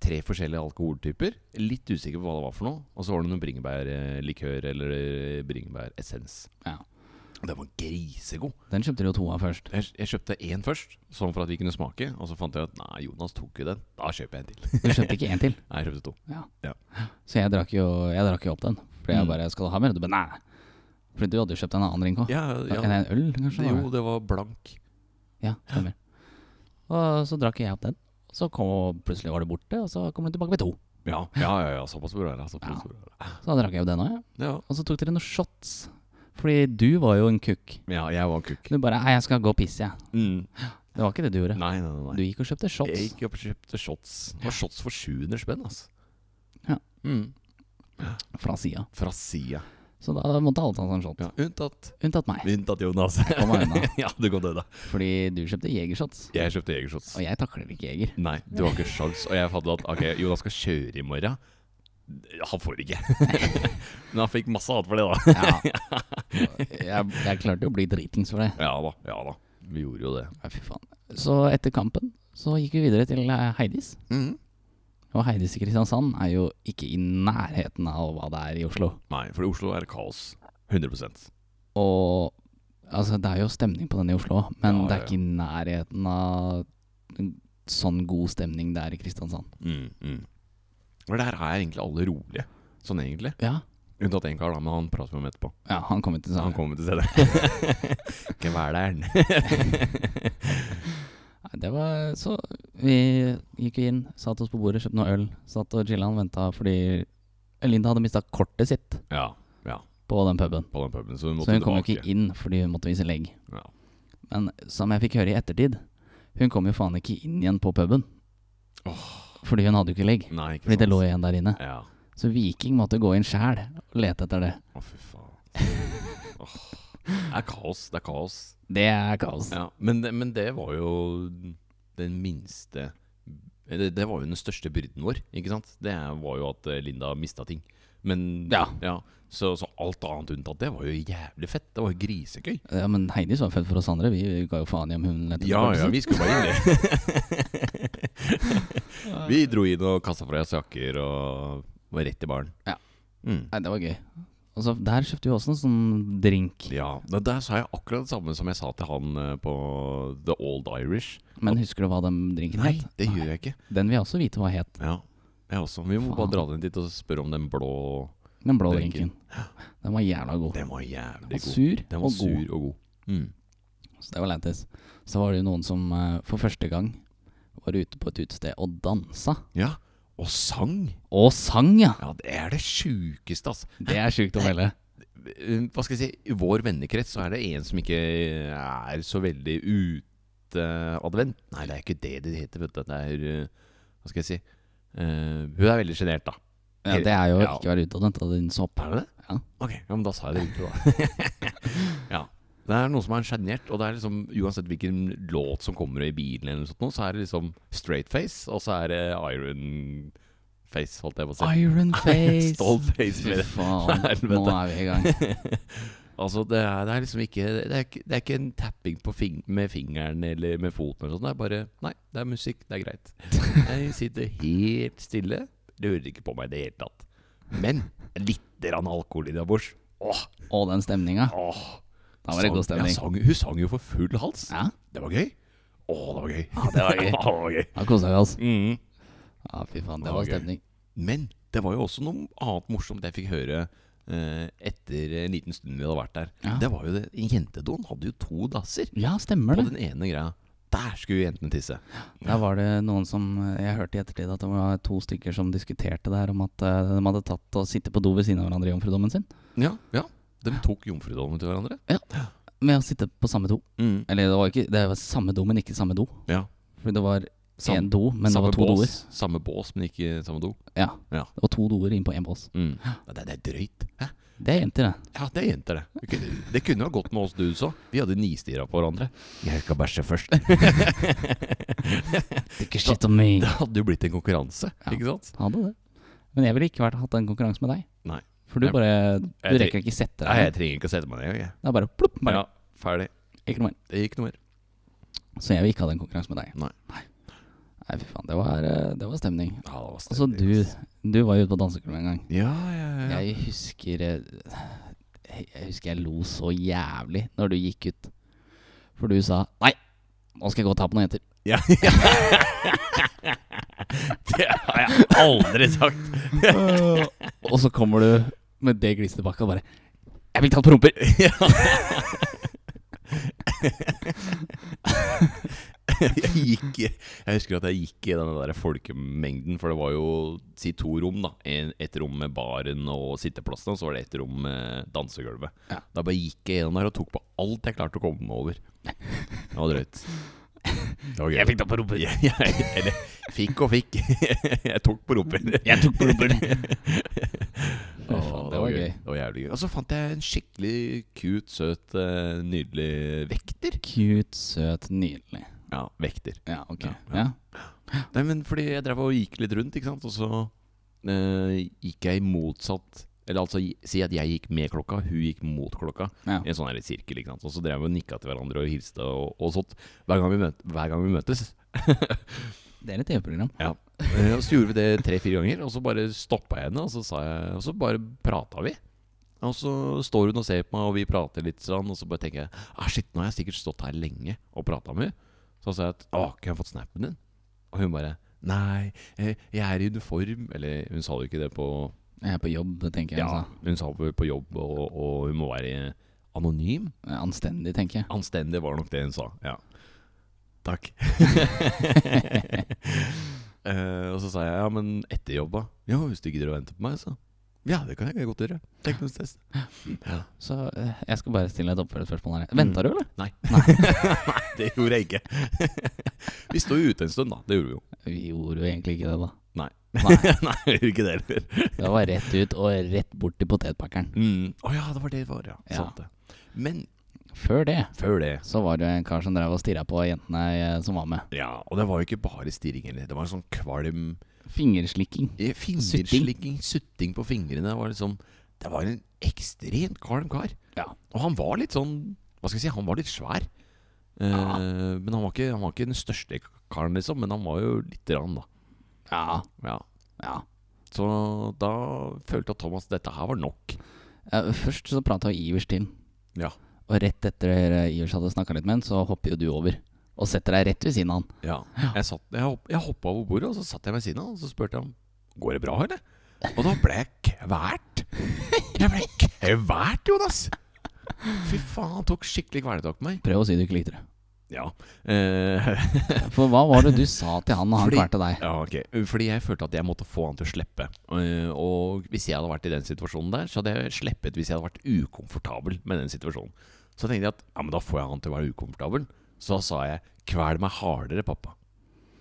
S2: tre forskjellige alkoholtyper. Litt usikker på hva det var for noe. Og så var det noe bringebærlikør eller eh, bringebæressens.
S1: Ja.
S2: Det var grisegod.
S1: Den kjøpte du jo to av først.
S2: Jeg, jeg kjøpte én først, sånn for at vi kunne smake. Og så fant jeg at nei, Jonas tok jo den. Da kjøper jeg en til.
S1: Du kjøpte ikke én til.
S2: Nei, jeg kjøpte to.
S1: Så jeg drakk jo, jeg drakk jo opp den. For jeg
S2: Mm.
S1: bare Skal du ha mer? Du bare nei. For du hadde jo kjøpt en annen drink òg.
S2: Ja,
S1: En en øl, kanskje? var det?
S2: jo, det var blank.
S1: Ja, stemmer. Og så drakk jeg opp den. Så kom, plutselig var det borte, og så kom den tilbake med to.
S2: Ja, ja, ja, ja såpass burde det være.
S1: Ja.
S2: Såpass burde det være.
S1: Så da drakk jeg jo den òg, ja.
S2: Ja.
S1: Og så tok dere noen shots. Fordi du var jo en kukk.
S2: ja, jeg var kukk.
S1: Du bare 'Nei, jeg skal gå og pisse', jeg.
S2: Mm.
S1: Det var ikke det du gjorde.
S2: Nei, nei, nei.
S1: Du gikk og kjøpte shots.
S2: Jeg gikk og kjøpte shots. Det var shots for 700 spenn, altså.
S1: Ja.
S2: Mm.
S1: fra sida.
S2: Fra sida.
S1: Så da måtte alle ta seg en shot.
S2: Ja. Unntatt
S1: Unntatt meg.
S2: Unntatt Jonas.
S1: Kom meg unna.
S2: ja, du kom deg unna.
S1: Fordi du kjøpte jegershots.
S2: Jeg kjøpte jegershots.
S1: Og jeg takler ikke jeger.
S2: Nei, du har ikke sjans. Og jeg fant ut at ok, Jonas skal kjøre i morgen. Han får ikke. Men han fikk masse hat for det, da.
S1: Ja. Jeg, jeg klarte jo å bli dritings for det.
S2: Ja da. ja da Vi gjorde jo det.
S1: Ja, fy faen. Så etter kampen så gikk vi videre til eh, Heidis.
S2: Mm.
S1: Og Heidis i Kristiansand er jo ikke i nærheten av hva det er i Oslo.
S2: Nei, for i Oslo er det kaos. 100
S1: Og altså, det er jo stemning på den i Oslo, men
S2: Ja,
S1: det
S2: ja, ja.
S1: er ikke i nærheten av en sånn god stemning det er i Kristiansand.
S2: mm, mm. For der er egentlig alle rolige. Sånn egentlig.
S1: Ja,
S2: Unntatt én kar, da, men han prater vi om etterpå.
S1: ja han kom ikke til
S2: Han
S1: seg.
S2: kommer til stedet. Kveler'n.
S1: Nei, Det var så Vi gikk inn, satte oss på bordet, kjøpte noe øl, satt og chilla og venta fordi Linda hadde mista kortet sitt
S2: ja,
S1: på den puben.
S2: på den puben, så hun
S1: Så
S2: måtte
S1: hun kom jo
S2: tilbake.
S1: ikke inn fordi hun måtte vise legg.
S2: Ja.
S1: Men som jeg fikk høre i ettertid, hun kom jo faen ikke inn igjen på puben. Fordi hun hadde jo ikke legg.
S2: Nei, ikke
S1: Fordi det
S2: sant.
S1: lå igjen der inne.
S2: Ja.
S1: Så Viking måtte gå inn sjæl og lete etter det.
S2: Å, fy faen. Åh. Det er kaos. Det er kaos.
S1: Det er kaos.
S2: Ja, men, det- men det var jo den minste eller det var jo den største byrden vår, ikke sant? Det var jo at eh, Linda mista ting. Men
S1: Ja.
S2: så, så alt annet unntatt det var jo jævlig fett. Det var jo grisegøy.
S1: Ja, Men Heidis var født for oss andre. Vi vi ga jo faen i om hun lette etter
S2: Ja,
S1: kortet
S2: ja,
S1: sitt.
S2: vi skulle bare inn det. vi dro inn og kasta fra oss jakker og var rett i baren.
S1: Ja.
S2: Mm.
S1: Nei, det var gøy. Og så Der kjøpte vi også en sånn drink.
S2: Ja, da- Der sa jeg akkurat det samme som jeg sa til han eh, på The Old Irish.
S1: Men husker du hva den drinken
S2: Nei,
S1: het?
S2: det gjør jeg ikke.
S1: Den vil jeg også vite hva het.
S2: Ja, jeg også. Vi må
S1: Faen.
S2: bare dra den dit og spørre om den blå
S1: Den blå
S2: Drinken.
S1: drinken. Den var jævla god.
S2: Den var jævlig
S1: Og
S2: god.
S1: sur
S2: Den var
S1: og god.
S2: sur og god. Mm.
S1: Så det var lættis. Så var det jo noen som eh, for første gang var ute på et utested og dansa.
S2: Ja, og sang.
S1: Og sang, ja!
S2: Ja, det er det sjukeste, altså.
S1: Det er sjukt å melde.
S2: Eh, Hva skal jeg si, i vår vennekrets så er det en som ikke eh, er så veldig uteadvendt. Nei, det er ikke det det heter, vet du. Det er eh, Hva skal jeg si. Eh, hun er veldig sjenert, da.
S1: Ja, det er jo
S2: Ja.
S1: ikke å være utadvendt av din sopp.
S2: Er det det?
S1: Ja.
S2: Ok, ja, men da sa jeg det riktig, da. ja. Det er noe som er sjenert, og det er liksom uansett hvilken låt som kommer i bilen, eller noe sånt, nå, så er det liksom straight face, og så er det iron face, holdt jeg på å si.
S1: Iron face!
S2: Stål face,
S1: Fy
S2: mener jeg.
S1: faen, nå
S2: Helvete.
S1: er vi i gang.
S2: Altså, det er, det er liksom ikke det er, ikke- det er ikke en tapping på fing med fingeren eller med foten. eller sånt. Det er bare Nei, det er musikk. Det er greit. Jeg sitter helt stille. Rører ikke på meg i det hele tatt. Men litt grann alkohol innabords. Åh,
S1: Og den stemninga.
S2: åh.
S1: Da var det god
S2: Sang- Sånn, ja,
S1: stemning.
S2: sang, hun sang jo for full hals.
S1: Ja,
S2: Det var gøy. Åh, det var gøy.
S1: det var gøy.
S2: det var gøy.
S1: da kosa vi oss.
S2: Mhm.
S1: Ja, fy faen,
S2: Det
S1: det
S2: var
S1: var
S2: gøy.
S1: stemning.
S2: Men det var jo også noe annet morsomt jeg fikk høre eh, etter en liten stund vi hadde vært der.
S1: Ja.
S2: Det var jo det, Jentedoen hadde jo to dasser.
S1: Ja, stemmer
S2: På
S1: det.
S2: den ene greia Der skulle jo jentene tisse.
S1: Der var det noen som Jeg hørte i ettertid at det var to stykker som diskuterte det her om at eh, de hadde tatt og sittet på do ved siden av hverandre i jomfrudommen sin.
S2: Ja, ja De tok jomfrudommen til hverandre.
S1: Med å sitte på samme do.
S2: Mm.
S1: Eller det var ikke Det var samme do, men ikke samme do.
S2: Ja.
S1: For det var
S2: Sam-
S1: én do, men det
S2: samme
S1: var to doer.
S2: bås, samme bås, men ikke samme do.
S1: Ja.
S2: Ja.
S1: Det var to doer inn på én bås.
S2: Mm. Ja, Det, det er drøyt. Hæ?
S1: Det er jenter, det.
S2: Ja, det er jenter, det. Det kunne, det kunne ha gått med oss dudes òg. Vi hadde nistira på hverandre. Jeg skal bæsje først.
S1: Ikke shit on me.
S2: Det hadde jo blitt en konkurranse,
S1: Ja.
S2: ikke sant?
S1: Hadde det. Men jeg ville ikke vært, hatt en konkurranse med deg.
S2: Nei.
S1: For du
S2: Jeg-
S1: bare Du
S2: jeg-
S1: rekker ikke sette
S2: Nei,
S1: deg
S2: jeg trenger ikke å sette meg ned. Jeg.
S1: Det er bare plopp. Bare,
S2: Ja, ferdig.
S1: Ikke noe mer.
S2: Det gikk noe mer.
S1: Så jeg vil ikke ha den konkurransen med deg.
S2: Nei.
S1: Nei, fy faen. Det var, eh, det var stemning.
S2: Ja, det var
S1: Altså,
S2: stemning,
S1: du,
S2: ass.
S1: du var jo ute på danseklubben en gang.
S2: Ja, ja, ja.
S1: Jeg husker eh, Jeg husker jeg lo så jævlig når du gikk ut. For du sa 'nei, nå skal jeg gå og ta på noen jenter'.
S2: ja. det har jeg aldri sagt.
S1: og så kommer du med det gliset tilbake og bare 'jeg fikk tatt på rumper'.
S2: Jeg gikk Jeg husker at jeg gikk i den der folkemengden, for det var jo si to rom, da. En, et rom med baren og sitteplassene, og så var det et rom med dansegulvet.
S1: Ja.
S2: Da bare gikk jeg gjennom der og tok på alt jeg klarte å komme meg over. Det var drøyt. Det var gøy.
S1: Jeg fikk tatt på rumper.
S2: Jeg, jeg, eller fikk og fikk. Jeg tok på rumpen.
S1: Jeg tok på rumper.
S2: Å,
S1: faen, det var gøy.
S2: Det var jævlig gøy. Og så fant jeg en skikkelig cute, søt, eh, nydelig vekter.
S1: Cute, søt, nydelig.
S2: Ja, vekter.
S1: Ja, ok.
S2: Ja,
S1: Ja,
S2: ja. Nei, men fordi jeg drev og gikk litt rundt, ikke sant, og så eh, gikk jeg motsatt Eller altså, gi- si at jeg gikk med klokka, hun gikk mot klokka.
S1: Ja.
S2: I en sånn her sirkel, ikke sant. Og så drev vi og nikka til hverandre og hilste og, og sånt. Hver gang vi, møt, hver gang vi møtes.
S1: Det er et TV-program.
S2: Eh, Og så gjorde vi det tre-fire ganger, og så bare stoppa jeg henne, og så, sa jeg, og så bare prata vi. Og så står hun og ser på meg, og vi prater litt sånn, og så bare tenker jeg ah, shit, nå har jeg sikkert stått her lenge og prata med henne. Så sa jeg at å, kunne jeg fått snappen din? Og hun bare nei, eh, jeg er i uniform. Eller hun sa jo ikke det på
S1: Jeg er på jobb, tenker jeg.
S2: Ja,
S1: altså.
S2: hun sa vel på jobb, og, og hun må være anonym.
S1: Anstendig, tenker jeg.
S2: Anstendig var nok det hun sa. Ja. Takk. Eh, og så sa jeg ja, men etter jobb, da? Ja, hvis du gidder å vente på meg, så. Ja, det kan jeg godt gjøre. Teknostest. Ja.
S1: Så eh, jeg skal bare stille et oppfølgingsspørsmål her. Venta du, eller?
S2: Nei. Nei, det gjorde jeg ikke. vi sto jo ute en stund, da. Det gjorde vi jo.
S1: Vi gjorde jo egentlig ikke det, da.
S2: Nei.
S1: Nei.
S2: Nei, vi gjorde ikke det heller. Mm.
S1: Det var rett ut og rett bort til potetpakkeren.
S2: Å ja, det var det det var, ja.
S1: Ja.
S2: Sant det. Men
S1: Før det
S2: før det
S1: så var det jo en kar som drev og stirra på jentene eh, som var med.
S2: Ja, og det var jo ikke bare stirring heller. Det var en sånn kvalm
S1: Fingerslikking.
S2: Eh, Fingerslikking, sutting på fingrene var liksom Det var en ekstremt kalm kar.
S1: Ja.
S2: Og han var litt sånn Hva skal jeg si, han var litt svær. Eh,
S1: Ja.
S2: Men han var, ikke, han var ikke den største karen, liksom. Men han var jo lite grann, da.
S1: Ja.
S2: Ja.
S1: ja.
S2: Så da følte jeg at Thomas dette her var nok.
S1: Eh, Først så prata Ivers til.
S2: Ja.
S1: Og rett etter eh, Ivers hadde snakka litt med han, så hopper jo du over. Og setter deg rett ved siden av han.
S2: Ja. Jeg, satt, jeg, hopp, jeg hoppa over bordet, og så satt jeg ved siden av, og så spurte jeg om Går det bra, eller? Og da ble jeg kvært. Jeg ble kvært, Jonas! Fy faen, han tok skikkelig kvelertak på meg.
S1: Prøv å si du ikke likte det.
S2: Ja. Eh,
S1: For hva var det du sa til han når han
S2: Fordi-
S1: kvalte deg?
S2: ja, ok. Fordi jeg følte at jeg måtte få han til å slippe. Eh, Og hvis jeg hadde vært i den situasjonen der, så hadde jeg sleppet hvis jeg hadde vært ukomfortabel med den situasjonen. Så tenkte jeg at ja, men da får jeg han til å være ukomfortabel. Så da sa jeg 'kvel meg hardere, pappa'.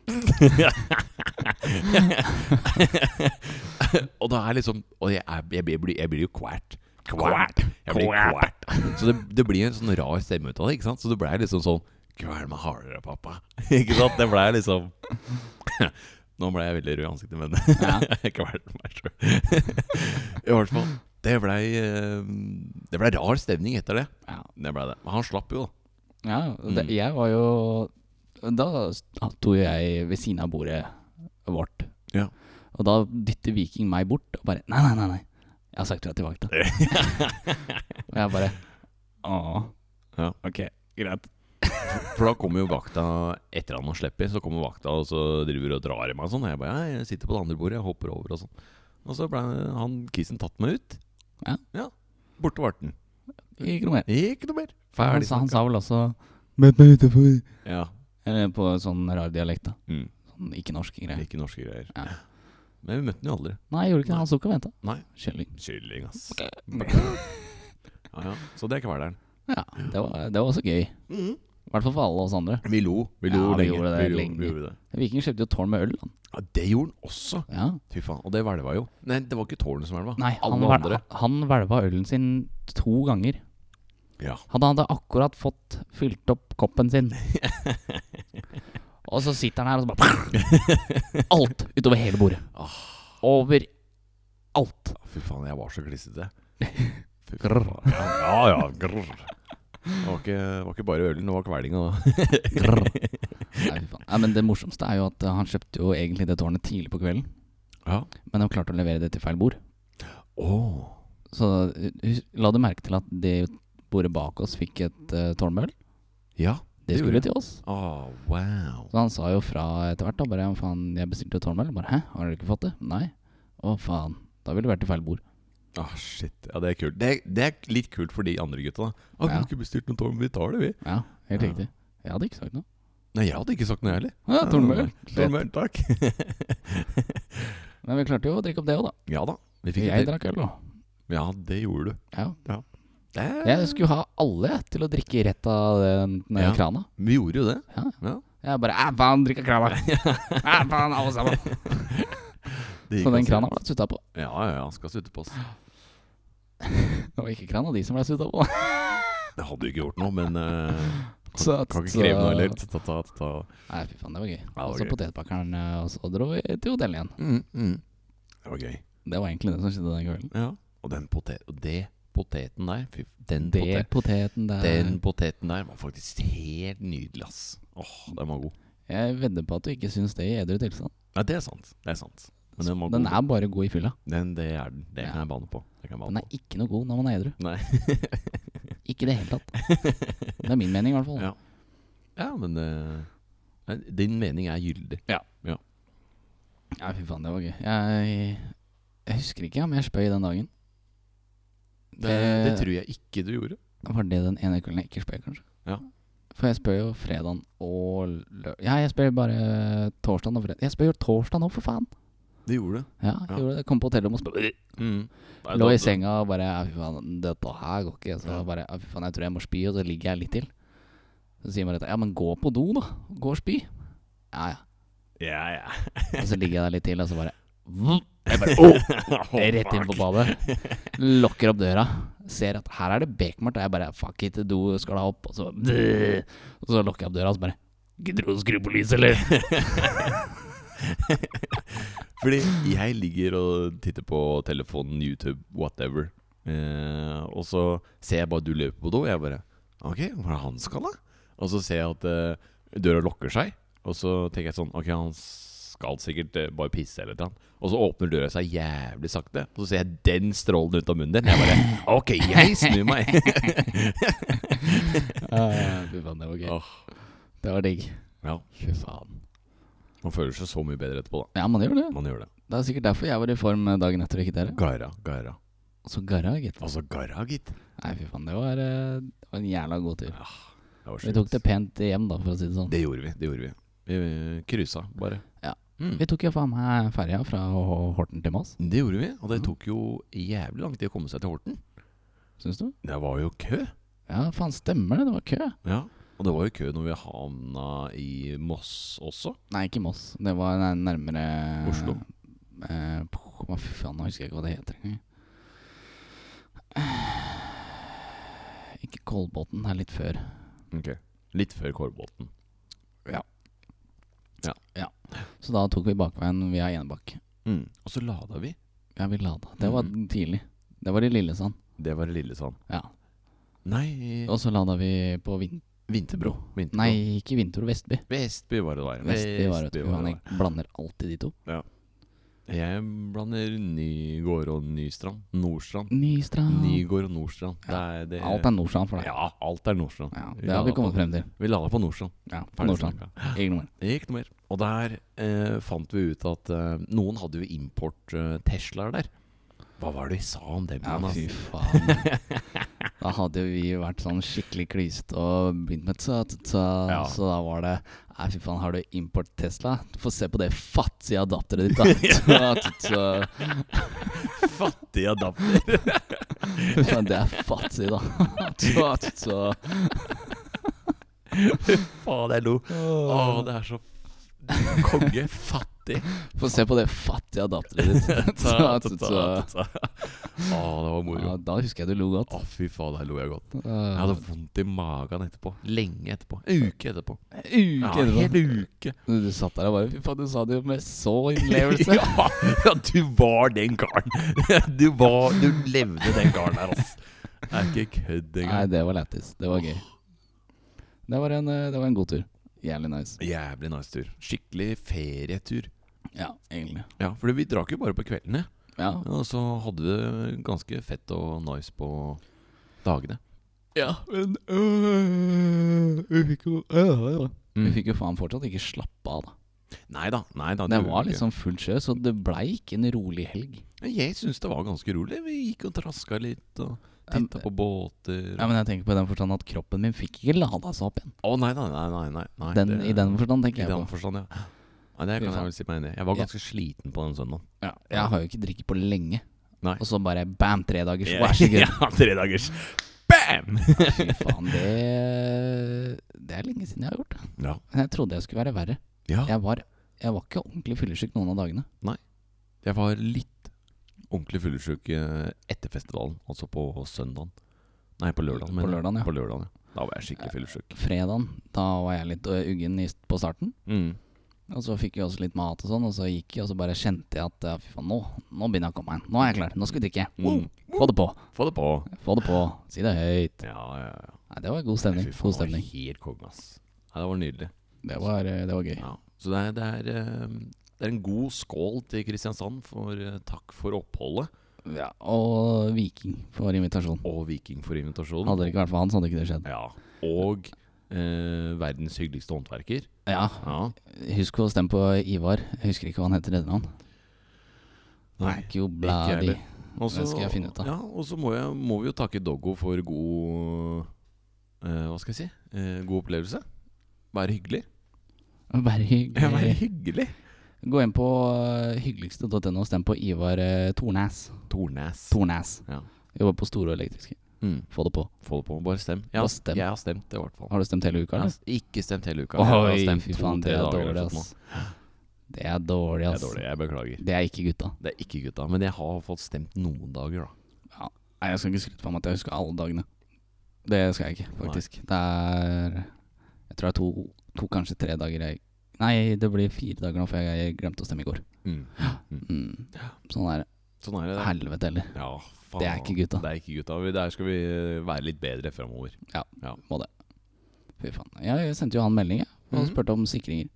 S2: og da er liksom Og jeg, er, jeg, blir- jeg, blir, jeg blir jo kvært.
S1: Kvært.
S2: Jeg blir
S1: Kvært.
S2: kvært. Så det, det blir en sånn rar stemme ut av det. Ikke sant? Så det blei liksom sånn Kvern meg hardere, pappa. ikke sant? Det blei liksom Nå ble jeg veldig rød i ansiktet, men
S1: Ja.
S2: jeg kvalte meg sjøl. I hvert fall. Det blei Det ble rar stemning etter det.
S1: Ja.
S2: Det ble det. Men han slapp jo, da.
S1: ja det,
S2: Mm.
S1: jeg var jo Da sto jo jeg ved siden av bordet vårt.
S2: Ja.
S1: Og da dytter Viking meg bort og bare Nei, nei, nei. nei. Jeg har sagt fra til vakta. og jeg bare Å.
S2: Ja.
S1: Ok, greit.
S2: For da kommer jo vakta etter han har sluppet, så kommer vakta og så driver og drar i meg og sånn. Og jeg bare ja, jeg sitter på det andre bordet, jeg hopper over og sånn. Og så ble han kissen tatt meg ut.
S1: Ja.
S2: Borte ble den.
S1: Ikke noe mer.
S2: Ikke noe mer.
S1: Han,
S2: Ferdig
S1: sa- han
S2: snakka.
S1: sa vel også Møt meg utafor.
S2: Ja.
S1: Eller på sånn rar dialekt, da.
S2: Mm.
S1: Sånn ikke-norsk greie.
S2: Ikke norske greier.
S1: Ja.
S2: Men vi møtte den jo aldri.
S1: Nei, jeg gjorde ikke det.
S2: Nei.
S1: Han sto ikke og venta.
S2: Nei.
S1: Kylling.
S2: Kylling, ass.
S1: Ja,
S2: Ja, ja. Så det er kvelderen.
S1: det var, det var også gøy. I hvert fall for alle oss andre.
S2: Vi lo. Vi lo
S1: Mhm. Ja, vi
S2: lenge.
S1: gjorde det
S2: lo-
S1: lenge.
S2: Vi gjorde det.
S1: Viking kjøpte jo tårn med øl. da.
S2: Ja, det gjorde han også.
S1: Ja.
S2: Fy faen. Og det hvelva jo. Nei, det var ikke tårnet som hvelva.
S1: Nei, han,
S2: Alle
S1: vel,
S2: andre.
S1: han hvelva ølen sin to ganger.
S2: Ja.
S1: Han hadde akkurat fått fylt opp koppen sin. og så sitter han her og så bare Alt utover hele bordet. Over alt.
S2: Fy faen, jeg var så klissete. Fy faen. Ja, ja. ja grr. Det var ikke, det var ikke bare ølen, det var kveldinga da.
S1: Grrr. Nei, fy faen. Nei, men det morsomste er jo at eh, han kjøpte jo egentlig det tårnet tidlig på kvelden,
S2: Ja.
S1: men de klarte å levere det til feil bord.
S2: Oh.
S1: Så eh, hus- la du merke til at det bordet bak oss fikk et uh, tårn med øl?
S2: Ja.
S1: Det
S2: Det
S1: skulle
S2: gjorde
S1: til oss.
S2: Ah, wow.
S1: Så han sa jo fra etter hvert. da Bare «Ja, faen, jeg bestilte jo tårnmel. Bare hæ, har dere ikke fått det? Nei. Å faen. Da ville det vært til feil bord.
S2: Ah, shit. Ja, det er kult. Det, det er litt kult for de andre gutta. da. Ah, vi
S1: Ja.
S2: har ikke bestilt noen tårn, men vi tar det, vi.
S1: Ja, helt
S2: Ja.
S1: riktig. Jeg hadde ikke sagt noe.
S2: Nei, jeg hadde ikke sagt noe, jeg heller.
S1: Ja, tårnmel.
S2: Tårnmel, takk.
S1: Men vi klarte jo å drikke opp det òg, da.
S2: ja da. Vi fikk
S1: Jeg
S2: det.
S1: drakk øl òg.
S2: Ja, det gjorde du.
S1: Ja.
S2: Det
S1: Jeg skulle ha alle til å drikke rett av den den eh,
S2: Ja.
S1: krana.
S2: Vi gjorde jo det.
S1: Jeg bare æ, faen, drikk av krana. Æ, faen, alle sammen.
S2: det gikk
S1: Så den
S2: også.
S1: krana ble sutta på.
S2: Ja, ja, ja. Skal sutte på oss.
S1: Det var ikke krana de som ble sutta på.
S2: Det hadde jo ikke gjort noe, men eh,
S1: Så,
S2: kan ikke
S1: så-
S2: kreve noe heller. Ta, ta, ta, ta.
S1: Nei, fy faen, det var gøy.
S2: var
S1: Og så
S2: gøy.
S1: potetbakkeren, eh, og så dro vi til hotellet igjen.
S2: Mm, mm. Det var gøy.
S1: Det var egentlig det som skjedde den kvelden.
S2: Ja. Og den potet, og det poteten der fy, den,
S1: Det
S2: potet,
S1: poteten der
S2: den poteten der var faktisk helt nydelig, ass. Åh, den var god.
S1: Jeg vedder på at du ikke syns det i edru tilstand.
S2: Ja, det er sant. Det er sant. Men den var
S1: Den
S2: god.
S1: er bare god i fylla.
S2: Den, det er den. Det
S1: Ja.
S2: kan jeg bane på. Det kan jeg
S1: Den
S2: bane
S1: er ikke noe god når man er edru.
S2: Nei.
S1: Ikke i det hele tatt. Det er min mening, i hvert fall.
S2: Ja. på. Ja, men eh, nei, din mening er gyldig.
S1: Ja, fy faen, det var gøy. Jeg, jeg husker ikke om jeg spøy den dagen.
S2: Det,
S1: Eh,
S2: det tror jeg ikke du gjorde.
S1: Var det den ene kvelden jeg ikke spøy, kanskje?
S2: Ja.
S1: For jeg spøy jo fredagen og lø... Ja, jeg spøy bare torsdagen og fredag. Jeg spøy jo torsdagen òg, for faen!
S2: Det gjorde du.
S1: Ja, jeg
S2: Ja.
S1: gjorde det. Kom på hotellet og spøy.
S2: Mm. Nei,
S1: Lå
S2: da-
S1: i senga og bare ja, Fy faen, dette her går ikke. Så
S2: Ja.
S1: bare ja, Fy faen, jeg tror jeg må spy, og så ligger jeg litt til. Så sier man dette. Ja, men gå på do, da. Gå og spy. Ja, ja.
S2: Ja, ja.
S1: Og så ligger jeg der litt til, og så bare vroom. jeg bare, oh, Rett inn på badet. Lukker opp døra. Ser at her er det bekmørkt, og jeg bare Fuck it, do skal da opp. Og så, og så lukker jeg opp døra, og så bare Gidder du å skru på lyset, eller?
S2: Fordi jeg ligger og titter på telefonen, YouTube, whatever. Eh, og så ser jeg bare du løper på do, og jeg bare OK, hva er det han skal, da? Og så ser jeg at eh, døra lukker seg, og så tenker jeg sånn OK, han skal sikkert eh, bare pisse eller noe. Og så åpner døra seg jævlig sakte, og så ser jeg den strålen ut av munnen din. Jeg bare OK, jeg snur meg.
S1: Ah, Fy faen, det var gøy.
S2: Åh,
S1: Det var digg.
S2: ja,
S1: Fy faen.
S2: Man føler seg så mye bedre etterpå, da.
S1: Ja, man gjør det.
S2: Man gjør det.
S1: Det er sikkert derfor jeg var i form eh, dagen etter, og ikke dere.
S2: Garra, garra.
S1: Og så garra, gitt.
S2: Altså garra, gitt.
S1: Nei, fy faen, det var, eh, det var en jævla god tur.
S2: Det var
S1: Vi
S2: sjukt.
S1: tok det pent hjem, da, for å si det sånn.
S2: Det gjorde vi. det gjorde Vi Vi eh, cruisa bare.
S1: Ja.
S2: Mm.
S1: Vi tok jo faen meg ferja fra H- Horten til Moss,
S2: Det gjorde vi, og det tok jo jævlig lang tid å komme seg til Horten.
S1: syns du?
S2: Det var jo kø.
S1: Ja, faen, stemmer det, det var kø.
S2: Ja. Og det var jo kø når vi havna i Moss også.
S1: Nei, ikke Moss. Det var nær- nærmere
S2: Oslo.
S1: Eh, puh, hva fy faen, nå husker jeg ikke hva det heter engang. Eh, Ikke Kolbotn, det er litt før.
S2: Litt før Kolbotn.
S1: Så da tok vi bakveien via Enebakk.
S2: Mm. Og så lada vi.
S1: Ja, vi lada. Det var
S2: Mhm.
S1: tidlig. Det var i Lillesand.
S2: Det var i Lillesand.
S1: Ja.
S2: Nei
S1: Og så lada vi på Vin...
S2: Vinterbro. Vinterbro.
S1: Nei, ikke Vintro, Vestby.
S2: Vestby var det der.
S1: Vestby var det. vet du,
S2: var
S1: faen,
S2: det
S1: Jeg blander alltid de to.
S2: der. Jeg blander Nygård og Nystrand. Nordstrand.
S1: Nystrand.
S2: Nygård og Nordstrand. Det er det
S1: Ah. Alt er Nordstrand for deg.
S2: Ja, alt er Nordstrand.
S1: Ja,
S2: Vi
S1: det har
S2: lader
S1: vi
S2: på
S1: kommet frem til.
S2: Vi lada på Nordstrand.
S1: Ja, på
S2: Ferdig
S1: Nordstrand.
S2: snakka.
S1: Egne ord.
S2: Det gikk noe mer. Og der eh, fant vi ut at eh, noen hadde jo import eh, Teslaer der. Hva var det vi sa om dem?
S1: Ja,
S2: igjen, ass?
S1: fy faen. Da hadde jo vi vært sånn skikkelig klysete og begynt med tsa, tsa, tsa.
S2: Ja.
S1: Så da var det Nei, fy faen, har du import Tesla? Du får se på det fattige adapteret ditt, da. Tsa, tsa, tsa.
S2: Fattig adapter.
S1: Fy faen, det er fattig, da. Tsa, tsa, tsa.
S2: Faen, jeg lo. Å, det er så konge. Fattig.
S1: Få se på det fattige adapteret ditt. Tsa, tsa, tsa.
S2: ta. Å, det var moro.
S1: Ja, da husker jeg du lo godt.
S2: Å, fy faen, der lo jeg godt. Jeg
S1: Uh,
S2: hadde vondt i magen etterpå. Lenge etterpå. En uke etterpå.
S1: uke
S2: Ja,
S1: etterpå.
S2: hele uke.
S1: Du du satt der og bare Fy faen, du sa det jo med så innlevelse.
S2: Ja, ja, du var den karen. Du var Du levde den karen der, ass. Det er ikke kødd
S1: Nei,
S2: engang.
S1: det var lættis. Det var gøy. Det var en, eh, det var en god tur. Jævlig nice.
S2: Jævlig nice tur. Skikkelig ferietur.
S1: Ja, egentlig.
S2: Ja, for vi drakk jo bare på kveldene.
S1: Ja.
S2: Ja, Og så hadde vi det ganske fett og nice på dagene.
S1: ja men øh, vi, fikk jo, øh, øh. vi fikk jo faen fortsatt ikke slappe av, da.
S2: Mm. Nei da. Nei da.
S1: Det
S2: gjorde
S1: var
S2: vi ikke.
S1: liksom fullt sjø, så det blei ikke en rolig helg.
S2: Jeg syns det var ganske rolig. Vi gikk og traska litt og
S1: Ja, men-
S2: titta på båter.
S1: Ja, men jeg tenker på i den forstand at kroppen min fikk ikke lada seg opp igjen.
S2: Å nei, nei, nei. nei, nei, nei
S1: Den,
S2: det-
S1: I den forstand
S2: I
S1: tenker jeg
S2: den
S1: på.
S2: forstand, ja. Nei, det
S1: Fy
S2: kan jeg
S1: faen.
S2: vel si meg enig i. Jeg var
S1: Ja.
S2: ganske sliten på den søndagen.
S1: Ja, jeg har jo ikke drikket på lenge.
S2: Nei.
S1: Og så bare bam, tre dagers. Vær så
S2: ja,
S1: god.
S2: tre dagers. Bam!
S1: Fy faen, det, det er lenge siden jeg har gjort det.
S2: Ja.
S1: Men Jeg trodde jeg skulle være verre.
S2: ja.
S1: Jeg var, jeg var ikke ordentlig fyllesyk noen av dagene.
S2: Jeg var litt ordentlig fyllesyk eh, etter festivalen, altså på søndagen. Nei, på lørdagen.
S1: På
S2: mener jeg.
S1: lørdagen, ja.
S2: På lørdagen, ja. Da var jeg skikkelig fyllesyk.
S1: Fredagen, da var jeg litt ø, uggen i, på starten.
S2: Mm.
S1: Og så fikk vi også litt mat og sånn, og så gikk jeg, og så bare kjente jeg at ja, fy faen, nå, nå begynner jeg å komme meg. Nå er jeg klar, nå skal vi drikke.
S2: Mm.
S1: Få det på,
S2: Få det på.
S1: få det på. Si det høyt.
S2: Ja, ja, ja.
S1: Nei, det var god stemning.
S2: Fy
S1: God
S2: faen, det var
S1: stemning.
S2: Helt konge, ass. Nei, det var nydelig.
S1: Det var, ø, det var gøy.
S2: Ja. Så det er, det, er, eh, det er en god skål til Kristiansand for eh, takk for oppholdet,
S1: Ja, og Viking for invitasjon.
S2: og Viking for invitasjonen.
S1: Hadde det ikke vært for han, så hadde ikke det skjedd.
S2: Ja. Og eh, verdens hyggeligste håndverker.
S1: Ja,
S2: Ja.
S1: husk å stemme på Ivar. Jeg husker ikke hva han heter i etternavn. Thank you,
S2: jeg
S1: bloody.
S2: heller. og så-
S1: det skal jeg finne ut av.
S2: Ja, og så må, jeg- må vi jo takke Doggo for god eh, Hva skal jeg si? Eh, god opplevelse. Være hyggelig. Eh,
S1: Bare
S2: Ja, Være
S1: hyggelig.
S2: hyggelig.
S1: Gå inn på eh, hyggeligste.no og stem på Ivar eh, Tornæs.
S2: Tornes.
S1: Tornæs.
S2: Ja.
S1: Jobber på Store og Elektriske.
S2: Mm.
S1: Få det på.
S2: Få det på. Bare stem. Jeg
S1: Bare
S2: har,
S1: stem.
S2: Jeg har stemt, det i hvert fall.
S1: Har du stemt hele
S2: Jeg
S1: uka,
S2: har
S1: eller?
S2: s- ikke stemt hele uka. jeg har
S1: Oi,
S2: stemt
S1: fy faen, det
S2: to-tre
S1: er
S2: dager eller
S1: dårlig,
S2: sånt nå.
S1: ass. Det er dårlig,
S2: Det er
S1: ass.
S2: dårlig. Jeg beklager.
S1: Det er ikke gutta.
S2: Det er ikke gutta. Men jeg har fått stemt noen dager, da.
S1: Nei, jeg skal ikke skryte på meg at jeg husker alle dagene. Det skal jeg ikke, faktisk. Det er Jeg tror det er to, to kanskje tre dager jeg Nei, det blir fire dager nå, for jeg glemte å stemme i går.
S2: Mm.
S1: Mm. Sånn er det.
S2: Sånn er det. det.
S1: Helvete heller.
S2: Ja, faen.
S1: Det er ikke gutta.
S2: Det er ikke gutta. Vi- Der skal vi eh, være litt bedre framover.
S1: Fy faen. Jeg sendte jo han melding, jeg. Og
S2: Mhm.
S1: spurte om sikringer.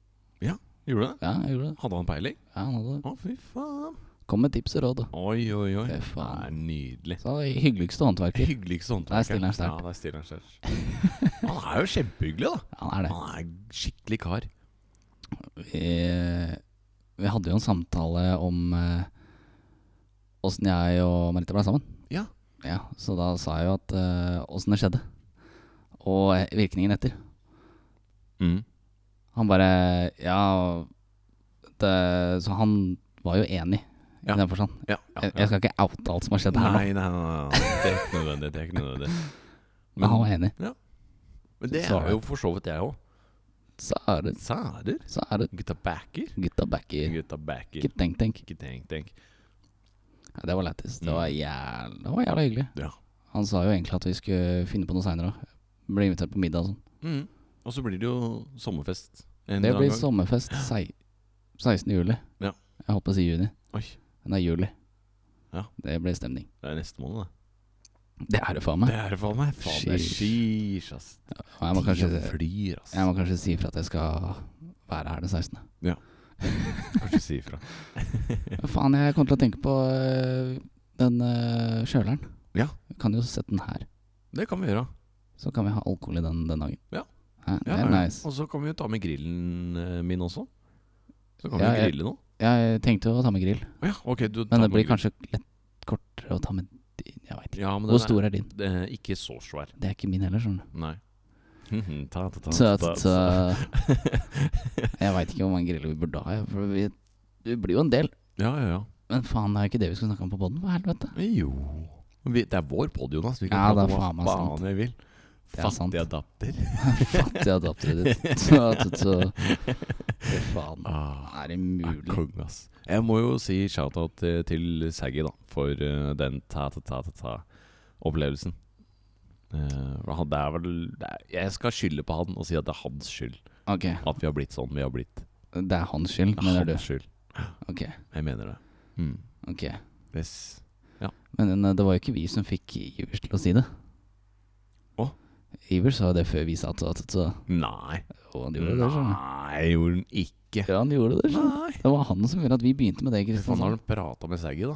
S2: Gjorde du det?
S1: Ja, jeg gjorde det.
S2: Hadde han peiling?
S1: Ja, han hadde det.
S2: Å, fy faen.
S1: Kom med tips og råd. da.
S2: Oi, oi, oi.
S1: Fy
S2: Det
S1: faen.
S2: er nydelig.
S1: Så hyggeligste håndverker.
S2: Hyggeligste
S1: Der
S2: håndverker.
S1: stiller han
S2: Ja,
S1: sterkt.
S2: der stiller han sterkt. Han er jo kjempehyggelig, da.
S1: Han er det.
S2: Han er en skikkelig kar.
S1: Vi, vi hadde jo en samtale om eh, åssen jeg og Merete ble sammen.
S2: Ja.
S1: ja. Så da sa jeg jo at eh, åssen det skjedde, og eh, virkningen etter.
S2: Mm.
S1: Han bare Ja det, Så han var jo enig,
S2: Ja.
S1: i den forstand.
S2: Ja, ja,
S1: Jeg,
S2: ja.
S1: jeg skal ikke oute alt som har skjedd her nå,
S2: Nei, nei, nei, nei. Det er ikke nødvendig. Det er ikke nødvendig.
S1: men han var enig.
S2: Ja. Men det
S1: Så
S2: er jo for så vidt jeg òg.
S1: Så er det
S2: Sæder.
S1: Så er det
S2: Gutta backer.
S1: gutta backer.
S2: Gutta backer.
S1: Ikke tenk, tenk.
S2: Ikke tenk, tenk.
S1: Ja, det var lættis. Det var jævla, det var jævla hyggelig.
S2: Mm. Ja.
S1: Han sa jo egentlig at vi skulle finne på noe seinere òg. Ble invitert på middag og sånn.
S2: Mm. Og så blir det jo sommerfest. En
S1: Det
S2: eller
S1: blir
S2: annen gang.
S1: sommerfest sei- 16. juli.
S2: Ja.
S1: Jeg holdt på å si juni,
S2: Oi,
S1: men det er juli.
S2: Ja.
S1: Det blir stemning.
S2: det er neste måned, det.
S1: Det er det faen
S2: Det
S1: meg.
S2: er det faen meg. Faen, det er sheesh, ass.
S1: Og Jeg må kanskje,
S2: Tida flyr, ass.
S1: jeg må kanskje si ifra at jeg skal være her den 16.
S2: Kanskje si ifra.
S1: Men faen, jeg kommer til å tenke på øh, den øh, kjøleren.
S2: Ja.
S1: Vi kan jo sette den her.
S2: Det kan vi gjøre.
S1: Så kan vi ha alkohol i den den dagen.
S2: Ja.
S1: Hæ, det
S2: Ja,
S1: er
S2: ja.
S1: nice.
S2: Og så kan vi jo ta med grillen eh, min også. Så kan
S1: Ja,
S2: vi
S1: jeg-
S2: grille noe.
S1: Jeg tenkte jo å ta med grill,
S2: Å ja, ok, du
S1: men det
S2: tar med
S1: blir
S2: grill.
S1: kanskje litt kortere å ta med din. Jeg vet ikke.
S2: ja, men
S1: Hvor
S2: den
S1: stor er din?
S2: Er, eh, ikke så svær.
S1: Det er ikke min heller, sånn. skjønner du.
S2: Nei. ta, ta, ta,
S1: Så,
S2: ta,
S1: så Jeg veit ikke hvor mange griller vi burde ha. jeg, For vi, det blir jo en del.
S2: Ja, ja, ja.
S1: Men faen, det er jo ikke det vi skal snakke om på poden, for helvete.
S2: Jo. Vi, det er vår pod, Jonas. Vi kan
S1: Ja, det
S2: prate
S1: er
S2: om
S1: faen meg
S2: hva
S1: sant.
S2: faen vi vil.
S1: Det er sant.
S2: Fattig adapter.
S1: Fattig adapteret ditt. Så, så, så. Fy faen.
S2: Ah,
S1: Er det
S2: er
S1: mulig?
S2: kong, ass. Jeg må jo si shout-out eh, til Saggy, da, for eh, den ta-ta-ta-ta-opplevelsen. Eh, det er vel det er, Jeg skal skylde på han og si at det er hans skyld
S1: Ok,
S2: at vi har blitt sånn vi har blitt.
S1: det er hans skyld,
S2: Det er
S1: mener du?
S2: hans skyld.
S1: Ok,
S2: Jeg mener det. Mm.
S1: ok.
S2: Yes.
S1: Men eh, det var jo ikke vi som fikk Ivers til å si det.
S2: Å?
S1: Ivers sa jo det før vi sa så, så, så.
S2: Nei.
S1: Og han gjorde det, sånn. skjønner du.
S2: Nei, gjorde den ikke.
S1: Ja, han gjorde det. skjønner du.
S2: Nei.
S1: Det var han som gjorde at vi begynte med det,
S2: Faen, har
S1: Kristian. Sånn
S2: han prata med Saggy, da?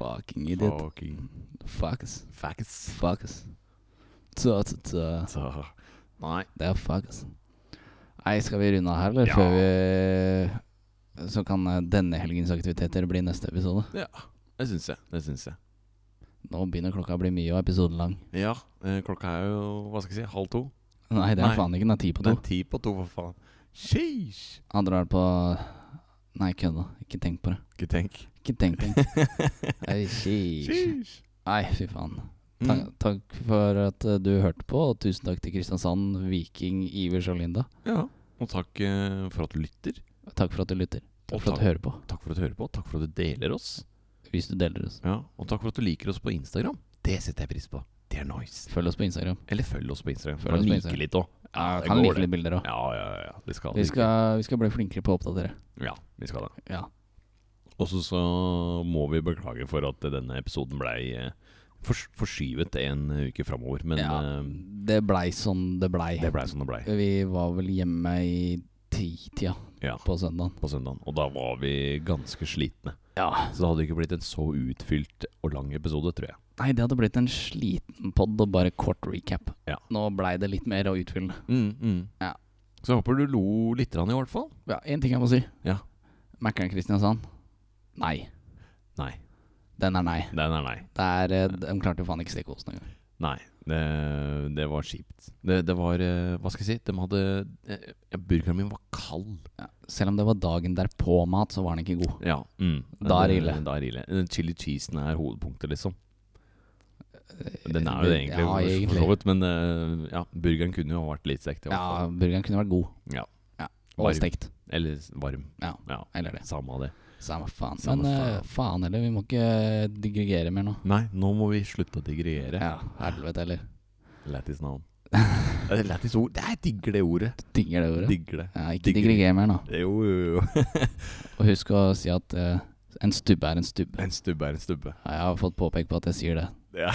S1: Fucking idiot.
S2: Fucking
S1: Fucks.
S2: facts.
S1: Fuckers. Så, så, så.
S2: Så Nei.
S1: Det er fuckers. Nei, skal vi runde av her, eller?
S2: Ja.
S1: Før vi Så kan eh, denne helgens aktiviteter bli neste episode.
S2: Det syns jeg. Det syns jeg.
S1: Nå begynner klokka å bli mye og episoden lang.
S2: Ja, eh, klokka er jo hva skal jeg si, halv to.
S1: Nei, det er
S2: Nei.
S1: faen ikke. Den er ti på
S2: Det
S1: to.
S2: er ti på to, for faen. Sheesh!
S1: Han drar på Nei, kødda. Ikke tenk på det.
S2: Ikke tenk.
S1: Ikke tenk, tenk. Nei, sheesh.
S2: Sheesh!
S1: Nei, fy faen. Takk,
S2: Mm.
S1: takk for at eh, du hørte på, og tusen takk til Kristiansand, Viking, Ivers og Linda.
S2: Ja. Og takk eh, for at du lytter.
S1: Takk for at du lytter.
S2: Og
S1: Takk for at du hører på.
S2: Takk for at du hører på. Takk for at du deler oss.
S1: Hvis du deler oss.
S2: Ja, Og takk for at du liker oss på Instagram. Det setter jeg pris på. Det er nice.
S1: Følg oss på Instagram.
S2: Eller følg oss på Instagram.
S1: Følg oss
S2: Følg oss
S1: på
S2: like
S1: Instagram.
S2: litt òg.
S1: Ja, kan like litt bilder òg.
S2: Ja, ja, ja, ja. Vi skal
S1: Vi
S2: like-
S1: skal, vi skal bli flinkere på å oppdatere.
S2: Ja, vi skal det.
S1: Ja.
S2: Og så så må vi beklage for at denne episoden blei eh, fors forskyvet en uke framover. Men
S1: ja.
S2: eh,
S1: Det blei sånn det blei.
S2: det blei som det blei
S1: Vi var vel hjemme i titida
S2: Ja.
S1: på søndagen.
S2: på søndagen. Og da var vi ganske slitne.
S1: Ja.
S2: Så det hadde ikke blitt en så utfylt og lang episode, tror jeg.
S1: Nei, det hadde blitt en sliten pod og bare kort recap.
S2: Ja.
S1: Nå blei det litt mer å utfylle. Ja.
S2: Mm, Så jeg håper du lo litt grann, i hvert fall.
S1: Ja, én ting jeg må si.
S2: Ja.
S1: Mækkern Kristiansand? Nei.
S2: Nei.
S1: Den er nei.
S2: Nei, nei, nei.
S1: Det er, eh, de klarte jo faen ikke stikkosen engang.
S2: Nei, det, det var kjipt. Det, det var eh, Hva skal jeg si? De hadde eh, ja, Burgeren min var kald.
S1: Ja. Selv om det var dagen derpå-mat, så var den ikke god.
S2: Ja. Mm.
S1: Da er det ille.
S2: Da er det ille. Eh, Chili cheesen er hovedpunktet, liksom. Den er jo det egentlig,
S1: Ja,
S2: for-
S1: egentlig.
S2: for så vidt. Men eh, ja, burgeren kunne jo ha vært litt stekt. i hvert
S1: Ja,
S2: fall.
S1: burgeren kunne vært god.
S2: Ja.
S1: ja.
S2: Varm.
S1: Og stekt.
S2: Eller varm.
S1: Ja.
S2: ja.
S1: Eller det.
S2: Samme av det.
S1: Samme faen.
S2: Samme
S1: Men
S2: faen.
S1: eh, faen heller, vi må ikke digregere mer nå.
S2: Nei, nå må vi slutte å digregere.
S1: Ja, helvete heller.
S2: Lættis navn. Eh, Lættis ord. Det er jeg digger det ordet.
S1: Digger det ordet.
S2: Digger det.
S1: Ja, ikke
S2: digger.
S1: digregere mer nå.
S2: Jo, jo, jo.
S1: Og husk å si at eh, en stubbe er en stubbe.
S2: En stubbe er en stubbe.
S1: Ja, jeg har fått påpekt på at jeg sier det.
S2: Ja.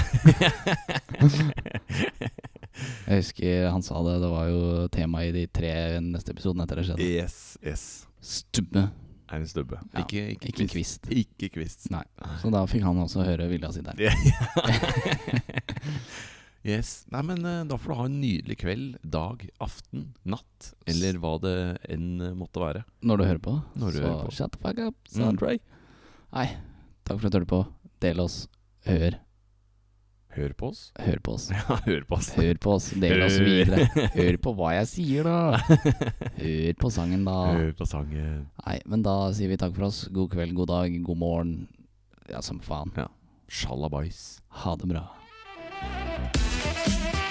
S1: Jeg husker han sa det, det var jo tema i de tre neste episodene etter det skjedde.
S2: yes, yes.
S1: Stubbe,
S2: Er en stubbe.
S1: Ja,
S2: Ikke, ikke,
S1: ikke
S2: kvist.
S1: kvist.
S2: Ikke kvist.
S1: Nei. Så da fikk han også høre vilja si der.
S2: Ja. yes. Nei, men eh, da får du ha en nydelig kveld, dag, aften, natt, eller hva det enn eh, måtte være.
S1: Når du hører på,
S2: Når du
S1: så
S2: hører på.
S1: shut the fuck up, sa
S2: Mm.
S1: Dre. Nei, takk for at du hørte på. Del oss. Hør.
S2: Hør på oss.
S1: Hør på oss.
S2: Ja, hør på oss.
S1: Hør på oss. Del oss
S2: Hør.
S1: videre. Hør på hva jeg sier, da. Hør på sangen, da.
S2: Hør på sangen.
S1: Nei, men da sier vi takk for oss. God kveld, god dag, god morgen. Ja, som faen.
S2: Sjalabais.
S1: Ha det bra.
S3: Thank you.
S2: oss.